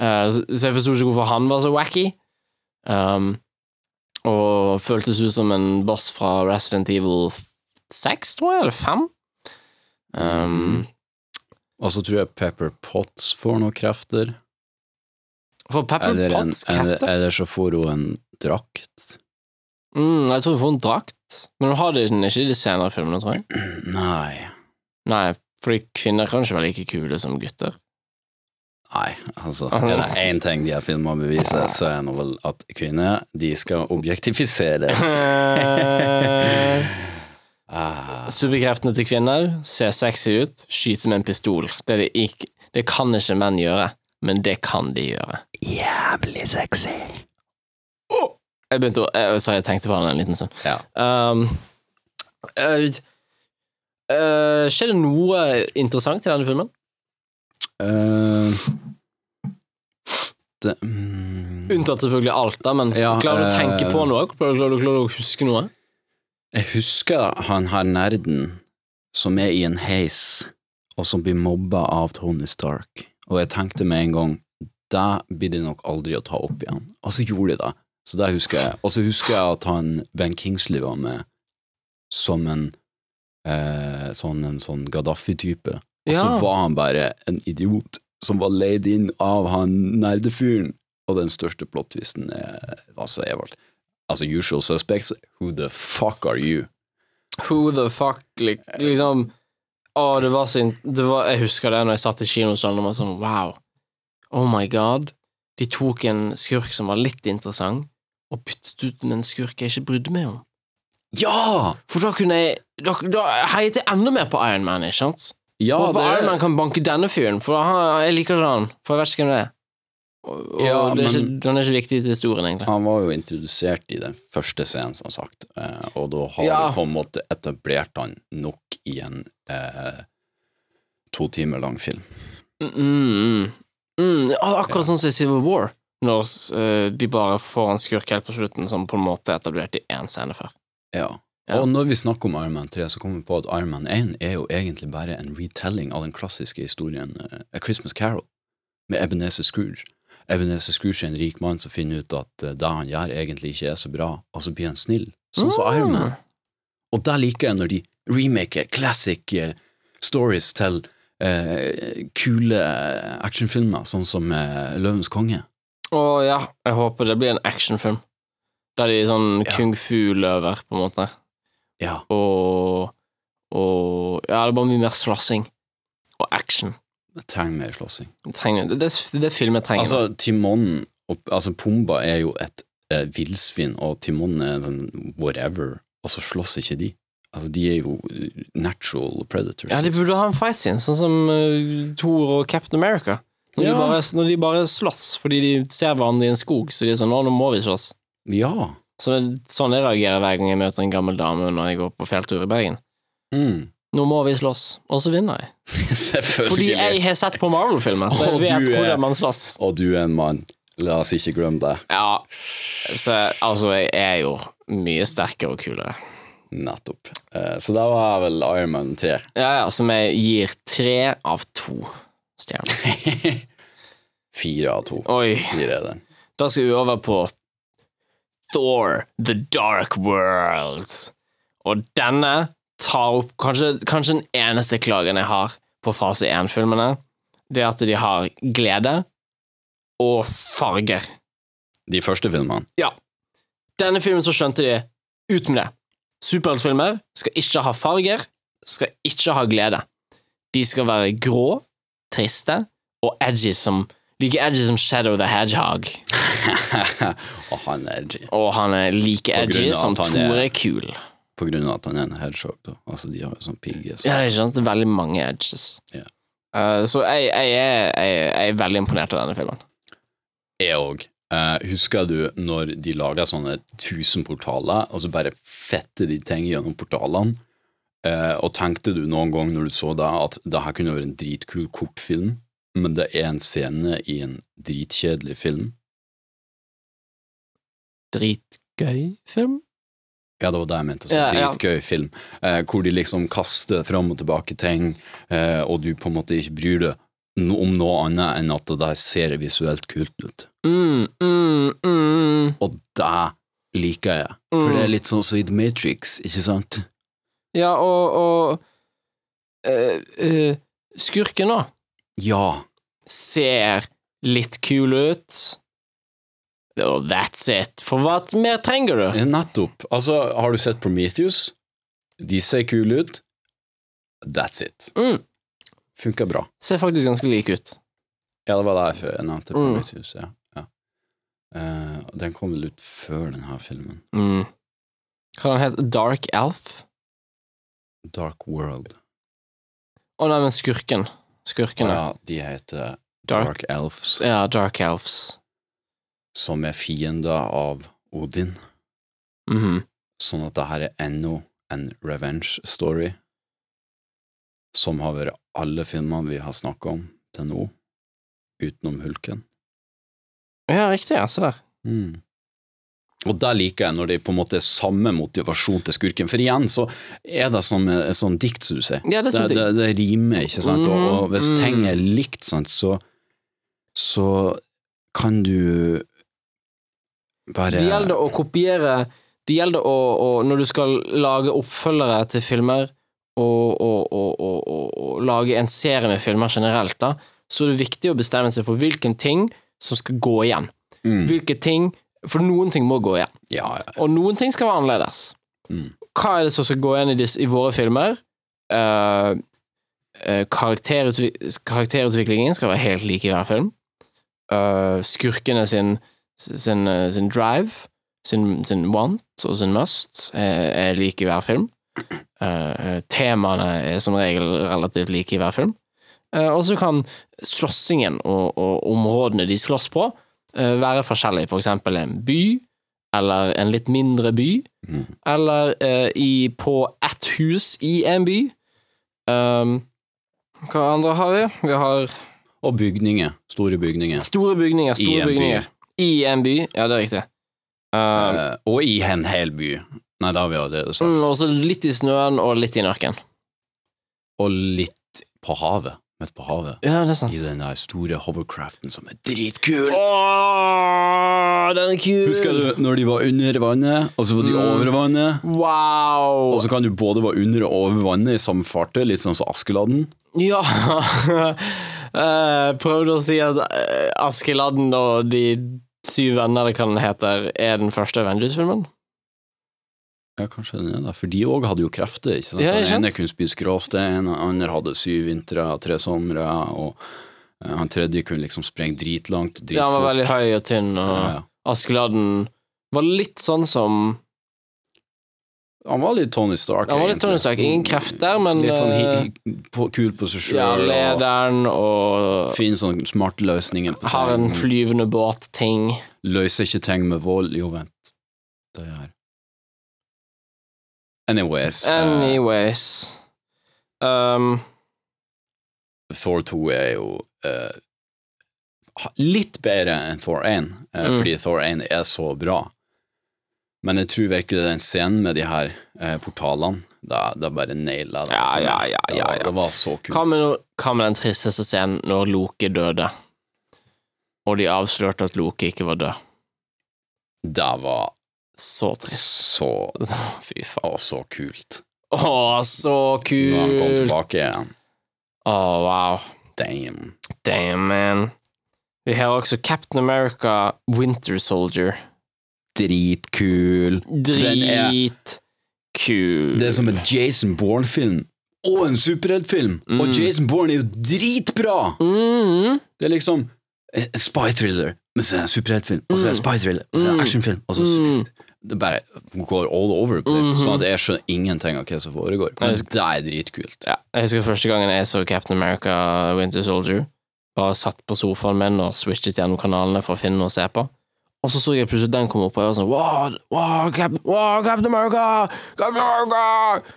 Speaker 4: Eh, så så jeg forsto ikke hvorfor han var så wacky. Um, og føltes ut som en boss fra Resident Evil 6, tror jeg, eller 5. Um,
Speaker 5: og så tror jeg Pepper Potts får noen krefter.
Speaker 4: for Pepper
Speaker 5: Eller, en,
Speaker 4: Potts
Speaker 5: eller,
Speaker 4: krefter
Speaker 5: eller så får hun en drakt.
Speaker 4: mm, Jeg tror hun får en drakt, men hun har det ikke i de senere filmene, tror jeg.
Speaker 5: Nei,
Speaker 4: Nei, fordi kvinner kan ikke være like kule som gutter.
Speaker 5: Nei, altså Er det én ting de her filmene beviser, så er det vel at kvinner de skal objektifiseres. Ah,
Speaker 4: Eh, Subkreftene til kvinner ser sexy ut, skyter med en pistol. Det, er det, ikke, det kan ikke menn gjøre, men det kan de gjøre.
Speaker 5: Jævlig sexy.
Speaker 4: Jeg begynte å eh, Sorry, jeg tenkte på den en liten stund.
Speaker 5: Ja.
Speaker 4: Um, eh, eh, skjer det noe interessant i denne filmen?
Speaker 5: Eh, det, mm,
Speaker 4: Unntatt selvfølgelig alt, da, men
Speaker 5: Ja,
Speaker 4: klarer du å tenke
Speaker 5: eh,
Speaker 4: på noe? Klarer, klarer, klarer du å huske noe?
Speaker 5: jeg husker han her nerden som er i en heis, og som blir mobba av Tony Stark. Og jeg tenkte med en gang det blir de nok aldri å ta opp igjen. Og så gjorde de det. Så det husker jeg. Og så husker jeg at han Ben Kingsley var med som en eh, sånn, en sånn Gaddafi-type. Og så
Speaker 4: Ja.
Speaker 5: var han bare en idiot som var leid inn av han nerdefyren. Og den største plottvisten er altså Evald. Altså Usual Suspects, who the fuck are you?
Speaker 4: Who the fuck lik- Liksom Å, det var sin det var, Jeg husker det når jeg satt i kinosalen og var sånn Wow. Oh my god. De tok en skurk som var litt interessant, og byttet ut med en skurk jeg ikke brydde meg om.
Speaker 5: Ja!
Speaker 4: For da kunne jeg Da, da heiet jeg enda mer på Iron Man, ikke sant?
Speaker 5: Ja,
Speaker 4: Håper
Speaker 5: det
Speaker 4: Iron Man kan banke denne fyren, for han, jeg liker ikke han. For jeg vet ikke hvem det er. Og, og
Speaker 5: Ja,
Speaker 4: det er
Speaker 5: men-
Speaker 4: ikke, han er ikke viktig til historien, egentlig.
Speaker 5: Han var jo introdusert i den første scenen, som sagt, eh, og da har
Speaker 4: Ja.
Speaker 5: du på en måte etablert han nok i en eh, to timer lang film.
Speaker 4: Mm, mm. Mm, ah, akkurat sånn som i Civil War, når eh, de bare får en skurk helt på slutten som på en måte er etablert i én scene før.
Speaker 5: Ja.
Speaker 4: Ja.
Speaker 5: Og når vi snakker om Iron Man 3, så kommer vi på at Iron Man 1 er jo egentlig bare en retelling av den klassiske historien eh, A Christmas Carol med Ebenezer Scrooge. Ebenezer Scrooge er en rik mann som finner ut at eh, det han gjør, egentlig ikke er så bra, og så blir han snill, sånn som Iron
Speaker 4: Mm.
Speaker 5: Man. Og der liker jeg når de remaker classic eh, stories til eh, kule actionfilmer, sånn som eh, Løvens konge.
Speaker 4: Å ja, jeg håper det blir en actionfilm. Der de er sånn
Speaker 5: Ja.
Speaker 4: kung fu-løver, på en måte.
Speaker 5: Ja.
Speaker 4: Og, og Ja, det er bare mye mer slassing. Og action.
Speaker 5: Jeg trenger mer slåssing.
Speaker 4: Jeg Trenger, det, det er det film jeg trenger.
Speaker 5: Altså, Timon og, Altså, Pumba er jo et eh, villsvin, og Timon er sånn whatever, og så slåss ikke de. Altså, de er jo natural predators. liksom.
Speaker 4: ja, De burde ha en fight scene, sånn som eh, Thor og Captain America. Når, de
Speaker 5: Ja.
Speaker 4: bare, når de bare slåss fordi de ser hverandre i en skog, så de er sånn Å, nå må vi slåss.
Speaker 5: ja.
Speaker 4: Så sånn jeg reagerer hver gang jeg møter en gammel dame når jeg går på fjelltur i Bergen.
Speaker 5: Mm.
Speaker 4: Nå må vi slåss, og så vinner jeg.
Speaker 5: Selvfølgelig.
Speaker 4: Fordi jeg har sett på Marvel-filmer, så jeg
Speaker 5: Og
Speaker 4: vet
Speaker 5: du er-
Speaker 4: hvordan man slåss.
Speaker 5: Og du er en mann. La oss ikke glemme det.
Speaker 4: Ja, så altså, jeg er jo mye sterkere og kulere.
Speaker 5: Nettopp. Eh, så det var vel Iron Man 3.
Speaker 4: Ja, ja, som jeg gir tre av to stjerner.
Speaker 5: Fire av to.
Speaker 4: Oi,
Speaker 5: Fire er den.
Speaker 4: da skal vi over på Thor, The Dark World. Og denne tar opp kanskje, kanskje den eneste klagen jeg har på fase 1-filmene, det er at de har glede og farger.
Speaker 5: De første filmene.
Speaker 4: Ja. Denne filmen så skjønte de ut med det. Superheltfilmer skal ikke ha farger, skal ikke ha glede. De skal være grå, triste og edgy som Like edgy som Shadow the Hedgehog.
Speaker 5: og han er edgy.
Speaker 4: Og han er like
Speaker 5: grunn
Speaker 4: edgy
Speaker 5: av
Speaker 4: som
Speaker 5: at han er-
Speaker 4: Tore er kul.
Speaker 5: På grunn av at han er en hedgehog, da. Altså, de har jo sånn pigge. Så.
Speaker 4: Ja, ikke sant? Det er Veldig mange edges.
Speaker 5: Ja.
Speaker 4: Eh, så jeg, jeg, er, jeg, jeg er veldig imponert av denne filmen.
Speaker 5: Jeg òg. Eh, husker du når de laga sånne 1000 portaler, og så bare fette de ting gjennom portalene? Eh, og tenkte du noen gang når du så det, at det her kunne vært en dritkul kortfilm, men det er en scene i en dritkjedelig film?
Speaker 4: Dritgøy film?
Speaker 5: Ja, det var det jeg mente. Så
Speaker 4: Ja, ja.
Speaker 5: dritgøy film. Eh, hvor de liksom kaster fram og tilbake ting, eh, og du på en måte ikke bryr deg no- om noe annet enn at det der ser visuelt kult ut.
Speaker 4: Mm, mm, mm.
Speaker 5: Og det liker jeg. For det er litt sånn som i The Matrix, ikke sant?
Speaker 4: Ja, og, og eh, eh, Skurken, da,
Speaker 5: Ja.
Speaker 4: ser litt kul ut. Og that's it. For hva mer trenger du?
Speaker 5: Nettopp. Altså, har du sett Prometheus? De ser kule ut. That's it.
Speaker 4: Mm.
Speaker 5: Funker bra.
Speaker 4: Ser faktisk ganske lik ut.
Speaker 5: Ja, det var derfor jeg nevnte
Speaker 4: Mm.
Speaker 5: Prometheus, ja. ja. Eh, og den kom vel ut før denne filmen.
Speaker 4: Mm. Hva den het Dark Elf?
Speaker 5: Dark World.
Speaker 4: Å nei, men skurken. Skurken, ja.
Speaker 5: Ja, de heter Dark,
Speaker 4: Dark,
Speaker 5: Elves,
Speaker 4: ja, Dark Elves.
Speaker 5: som er fiender av Odin.
Speaker 4: Mhm.
Speaker 5: Sånn at det her er ennå en revenge story, som har vært alle filmene vi har snakket om til nå, utenom Hulken.
Speaker 4: Ja, riktig, ja. Se der.
Speaker 5: Mm. Og der liker jeg når det på en måte er samme motivasjon til skurken, for igjen så er det som et sånn dikt, som du sier.
Speaker 4: Ja, det er
Speaker 5: Det,
Speaker 4: som
Speaker 5: det, det rimer, ikke sant, og, og hvis
Speaker 4: Mhm, mhm.
Speaker 5: ting er likt, sant, så, så kan du bare
Speaker 4: Det gjelder å kopiere Det gjelder å, å Når du skal lage oppfølgere til filmer, og, og, og, og, og, og lage en serie med filmer generelt, da, så er det viktig å bestemme seg for hvilken ting som skal gå igjen.
Speaker 5: Mm.
Speaker 4: Hvilke ting For noen ting må gå igjen,
Speaker 5: Ja, ja.
Speaker 4: og noen ting skal være annerledes.
Speaker 5: Mm.
Speaker 4: Hva er det som skal gå igjen i, disse, i våre filmer? Eh, eh, karakterutvi- karakterutviklingen skal være helt lik i hver film. Eh, skurkene sin, sin, eh, sin drive, sin, sin want og sin must er, er lik i hver film. Eh, eh, temaene er som regel relativt like i hver film. Eh, og så kan slåssingen og, og områdene de slåss på, eh, være forskjellige. For eksempel en by, eller en litt mindre by
Speaker 5: Mm.
Speaker 4: eller eh, i, på ett hus i en by. Um, hva andre har vi? Vi har
Speaker 5: Og bygninger. Store bygninger.
Speaker 4: store bygninger.
Speaker 5: I
Speaker 4: Store
Speaker 5: en by.
Speaker 4: bygninger. I en by, ja, det er riktig. Um,
Speaker 5: Eh, og i en hel by. Nei, det har vi allerede sagt.
Speaker 4: mm, og så litt i snøen og litt i mørken.
Speaker 5: Og litt på havet. Midt på havet.
Speaker 4: Ja, det
Speaker 5: I
Speaker 4: er sant.
Speaker 5: den der store hovercraften som er dritkul.
Speaker 4: Åh, den er kul!
Speaker 5: Husker du når de var under vannet, og så var de
Speaker 4: Mm.
Speaker 5: over vannet? Og
Speaker 4: Wow!
Speaker 5: så kan du både være under og over vannet i samme fartøy, litt sånn som Askeladden.
Speaker 4: Ja! Eh, prøvde å si at eh, Askeladden og De syv venner, det kan hete, er den første Avengers-filmen.
Speaker 5: Ja, kanskje den er det, for de òg hadde jo krefter. ikke sant?
Speaker 4: Ja, ikke
Speaker 5: den
Speaker 4: sant?
Speaker 5: ene kunne spise gråstein, den andre hadde syv vintre, tre somre, og eh, han tredje kunne liksom sprenge dritlangt, dritfort.
Speaker 4: Ja, han var veldig høy og tynn. og...
Speaker 5: Ja, ja.
Speaker 4: Askeladden var litt sånn som
Speaker 5: Han var litt Tony Stark.
Speaker 4: Han var litt Tony
Speaker 5: egentlig.
Speaker 4: Stark. Ingen krefter, men,
Speaker 5: Litt sånn hi- hi- på, kul på seg
Speaker 4: ja,
Speaker 5: sjøl, og
Speaker 4: lederen og
Speaker 5: finner sånne smarte løsninger på
Speaker 4: har en
Speaker 5: ting.
Speaker 4: flyvende båt-ting.
Speaker 5: Løser ikke ting med vold. Jo, vent. Det er Anyways, eh,
Speaker 4: Anyways um,
Speaker 5: Thor 2 er jo eh, ha- litt bedre enn Thor 1, eh,
Speaker 4: Mm.
Speaker 5: fordi Thor 1 er så bra. Men jeg tror virkelig den scenen med de her eh, portalene, da, da bare naila det.
Speaker 4: Ja,
Speaker 5: for meg.
Speaker 4: ja, ja,
Speaker 5: Det
Speaker 4: ja,
Speaker 5: var-
Speaker 4: ja.
Speaker 5: Det var så kult.
Speaker 4: hva, med, no- hva med den tristeste scenen når Loke døde, og de avslørte at Loke ikke var død?
Speaker 5: Det var
Speaker 4: Så trist.
Speaker 5: så
Speaker 4: Fy faen.
Speaker 5: Å, så kult.
Speaker 4: Å, så
Speaker 5: Når han kom
Speaker 4: kult! Å,
Speaker 5: tilbake igjen.
Speaker 4: wow.
Speaker 5: Damn.
Speaker 4: Damn, man. Vi har også Captain America Winter Soldier.
Speaker 5: Dritkul. Den er-
Speaker 4: Dritkul.
Speaker 5: Det er som en Jason Bourne-film. Og en superheltfilm! Og Jason Bourne er jo dritbra!
Speaker 4: mm.
Speaker 5: Det er liksom eh, spy thriller, men så er det en superheltfilm, og så er det spy thriller, og så er det actionfilm, og så
Speaker 4: Mm. Mm-hmm.
Speaker 5: Det bare går all over the place, sånn at jeg skjønner ingenting av hva som foregår. Men det er dritkult.
Speaker 4: ja, Jeg husker første gangen jeg så Captain America Winter Soldier. Bare satt på sofaen min og switchet gjennom kanalene for å finne noe å se på. Og så så jeg plutselig den komme opp, og jeg var sånn Wow, wow, Cap wow Captain America! Captain America!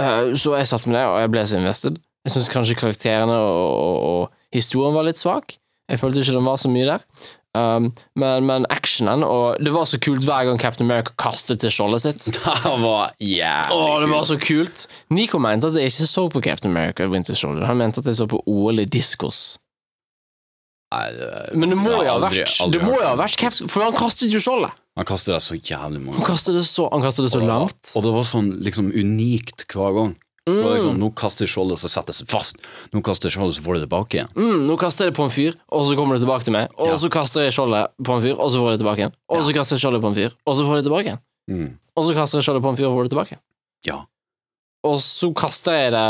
Speaker 4: Eh, så jeg satte meg ned, og jeg ble så invested. Jeg syns kanskje karakterene og, og, og historien var litt svak. Jeg følte ikke den var så mye der. Um, men, men actionen Og det var så kult hver gang Captain America kastet til skjoldet sitt.
Speaker 5: Det var jævlig
Speaker 4: Åh, det var
Speaker 5: kult.
Speaker 4: så kult! Nico mente at jeg ikke så på Captain America Winter Soldier. Han mente at jeg så på OL i diskos.
Speaker 5: Nei, det-
Speaker 4: Men det må
Speaker 5: jeg
Speaker 4: jo ha
Speaker 5: har aldri-
Speaker 4: vært
Speaker 5: aldri
Speaker 4: Det må
Speaker 5: hørt
Speaker 4: jo ha
Speaker 5: om
Speaker 4: vært
Speaker 5: det.
Speaker 4: Captain For han kastet jo skjoldet!
Speaker 5: Han kaster deg så jævlig mange
Speaker 4: Han kastet det så, han kastet det så
Speaker 5: Og-
Speaker 4: langt.
Speaker 5: Og det var sånn liksom unikt hver gang. Det var
Speaker 4: Mm.
Speaker 5: liksom, nå kaster skjoldet, så settes det fast. Nå kaster skjoldet, så får det tilbake igjen.
Speaker 4: Mm, nå kaster jeg det på en fyr, og så kommer det tilbake til meg. Og
Speaker 5: Ja.
Speaker 4: så kaster jeg skjoldet på en fyr, og så får jeg det tilbake igjen. Og så kaster jeg skjoldet på en fyr, og så får jeg det tilbake igjen.
Speaker 5: Mm.
Speaker 4: Og så kaster jeg skjoldet på en fyr, og får det tilbake.
Speaker 5: Ja.
Speaker 4: Og så kaster jeg det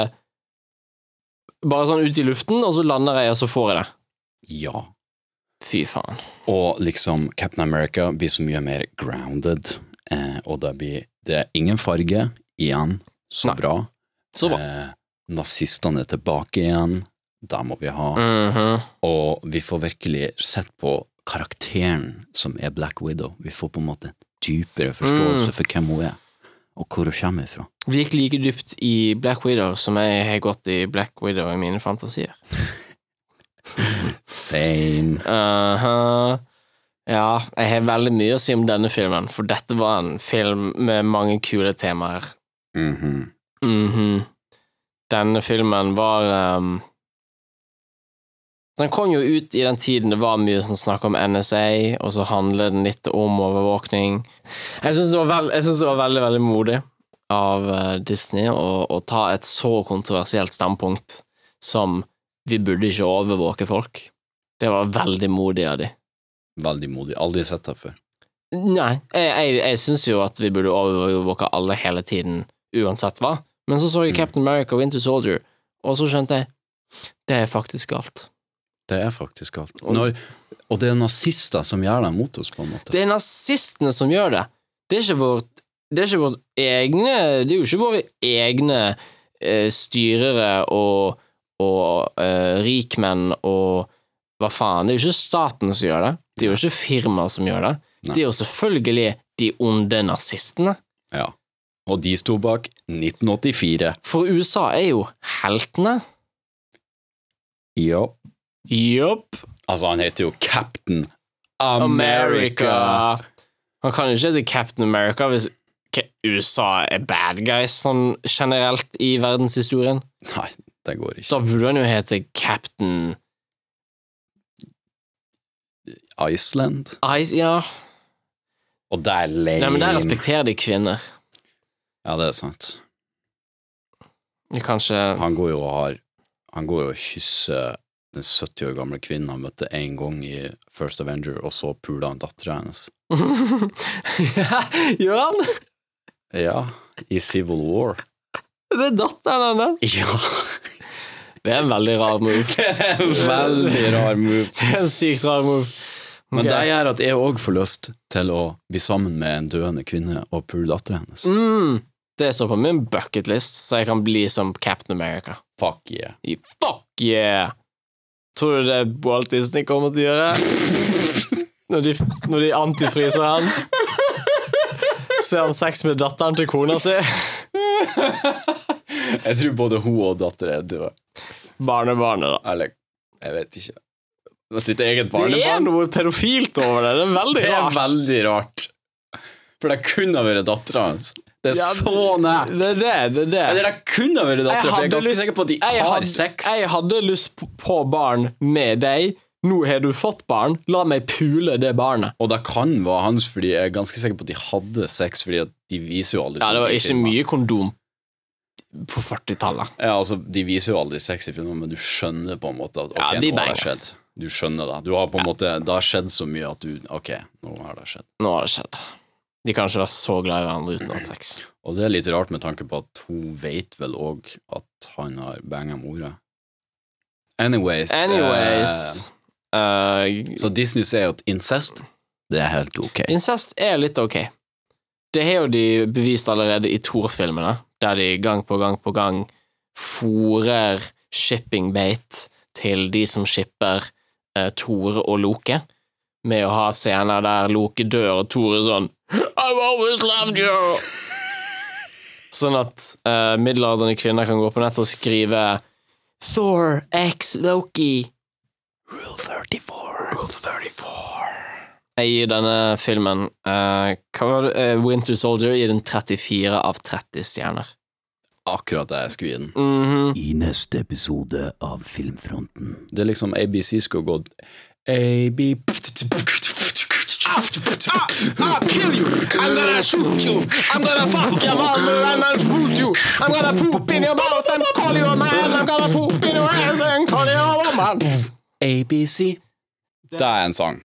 Speaker 4: bare sånn ut i luften, og så lander jeg, og så får jeg det.
Speaker 5: ja.
Speaker 4: Fy faen.
Speaker 5: Og liksom Captain America blir så mye mer grounded, eh, og det, blir, det er ingen farge igjen. Så
Speaker 4: Nei.
Speaker 5: bra.
Speaker 4: Så bra.
Speaker 5: Eh, nazistene er tilbake igjen. Det må vi ha.
Speaker 4: Mhm.
Speaker 5: Og vi får virkelig sett på karakteren som er Black Widow. Vi får på en måte dypere forståelse
Speaker 4: Mm.
Speaker 5: for hvem hun er, og hvor hun kommer ifra.
Speaker 4: Vi gikk like dypt i Black Widow som jeg har gått i Black Widow i mine fantasier.
Speaker 5: Same.
Speaker 4: Aha. Mhm. Ja, jeg har veldig mye å si om denne filmen, for dette var en film med mange kule temaer.
Speaker 5: Mhm.
Speaker 4: Mhm. Denne filmen var ehm, Den kom jo ut i den tiden det var mye som snakk om NSA, og så handler den litt om overvåkning. Jeg syns det, var vel- jeg synes det var veldig, veldig modig av eh, Disney å, å ta et så kontroversielt standpunkt som vi burde ikke overvåke folk. Det var veldig modig av de.
Speaker 5: Veldig modig. Aldri sett det før.
Speaker 4: Nei, jeg, jeg, jeg syns jo at vi burde overvåke alle hele tiden, uansett hva. Men så så
Speaker 5: Mm.
Speaker 4: jeg Captain America Winter Soldier, og så skjønte jeg det er faktisk galt.
Speaker 5: Det er faktisk alt. Når, og det er nazister som gjør det mot oss, på en måte.
Speaker 4: Det er nazistene som gjør det. Det er ikke vårt, det er ikke vårt egne Det er jo ikke våre egne eh, styrere og, og eh, rikmenn og hva faen. Det er jo ikke staten som gjør det. Det er jo ikke firmaer som gjør det.
Speaker 5: Nei.
Speaker 4: Det er jo selvfølgelig de onde nazistene.
Speaker 5: Ja. Og de sto bak 1984.
Speaker 4: For USA er jo heltene.
Speaker 5: Ja.
Speaker 4: Jopp.
Speaker 5: Altså, han heter jo Captain America.
Speaker 4: America. Man kan jo ikke hete Captain America hvis K- USA er bad guys sånn generelt i verdenshistorien.
Speaker 5: Nei, det går ikke.
Speaker 4: Da burde han jo hete Captain
Speaker 5: Iceland.
Speaker 4: Ice, ja.
Speaker 5: Og det er lame.
Speaker 4: Nei, men der respekterer de kvinner.
Speaker 5: Ja, det er sant.
Speaker 4: De kan ikke
Speaker 5: Han går jo og har Han går jo og kysser den 70 år gamle kvinnen han møtte én gang i First Avenger, og så puler han dattera hennes.
Speaker 4: Ja, Gjør han?
Speaker 5: Ja, i Civil War.
Speaker 4: Det er datteren hennes.
Speaker 5: Ja,
Speaker 4: Det er en veldig rar move.
Speaker 5: veldig rar move.
Speaker 4: Det er en sykt rar move.
Speaker 5: Men
Speaker 4: Ok.
Speaker 5: det gjør at jeg òg får lyst til å bli sammen med en døende kvinne og pule dattera hennes.
Speaker 4: Mm, det står på min bucketlist, så jeg kan bli som Captain America.
Speaker 5: Fuck yeah.
Speaker 4: I- Fuck yeah! Tror du det Walt Disney kommer til å gjøre? Når de, når de antifriser han? Så har han sex med datteren til kona si.
Speaker 5: Jeg tror både hun og dattera er døde.
Speaker 4: Barnebarnet, da.
Speaker 5: Eller, jeg vet ikke. Det er sitt eget
Speaker 4: Det er
Speaker 5: barnebarn.
Speaker 4: noe pedofilt over det. Det er veldig
Speaker 5: Det er
Speaker 4: rart.
Speaker 5: veldig rart. For det kunne ha vært dattera hans. Det er
Speaker 4: Ja,
Speaker 5: så nært.
Speaker 4: Det er det. det, er det.
Speaker 5: Eller det kunne ha vært dattera, for jeg er ganske sikker på at de
Speaker 4: jeg
Speaker 5: har
Speaker 4: hadde-
Speaker 5: sex.
Speaker 4: Jeg hadde lyst p- på barn med deg. Nå har du fått barn. La meg pule det barnet.
Speaker 5: Og det kan være hans, fordi jeg er ganske sikker på at de hadde sex, fordi at de viser jo aldri
Speaker 4: Ja, det var
Speaker 5: sex i
Speaker 4: ikke
Speaker 5: filmen.
Speaker 4: mye kondom på 40-tallet.
Speaker 5: Ja, altså, de viser jo aldri sex i filmen, men du skjønner på en måte at ok,
Speaker 4: Ja, de
Speaker 5: nå har
Speaker 4: banger.
Speaker 5: det skjedd. Du skjønner det. Du har på en måte, det har skjedd så mye at du Ok, nå har det skjedd.
Speaker 4: Nå har det skjedd. De kan ikke være så glad i hverandre uten å ha sex.
Speaker 5: Og det er litt rart med tanke på at hun vet vel òg at han har banga mora. Anyways. eh,
Speaker 4: Anyways eh,
Speaker 5: Så Disney sier jo at incest Det er helt ok.
Speaker 4: Incest er litt ok. Det har jo de bevist allerede i Thor-filmene, der de gang på gang på gang fòrer shippingbait til de som shipper eh, Thor og Loke, med å ha scener der Loke dør, og Thor er sånn I've always loved you! Sånn at eh, middelaldrende kvinner kan gå på nettet og skrive Thor x Loki. Rule 34. Rule 34. Jeg gir denne filmen eh, hva var det, eh, Winter Soldier gir den 34 av 30 stjerner.
Speaker 5: Akkurat det jeg skulle gi den.
Speaker 4: Mhm.
Speaker 6: I neste episode av Filmfronten.
Speaker 5: Det er liksom ABC skulle gått AB
Speaker 4: I'll kill you. I'm gonna shoot you. I'm gonna fuck your mother and I'll shoot you. I'm gonna poop in your mouth and call you a man. I'm gonna poop in your ass and call you a woman.
Speaker 5: ABC. Det er en sang.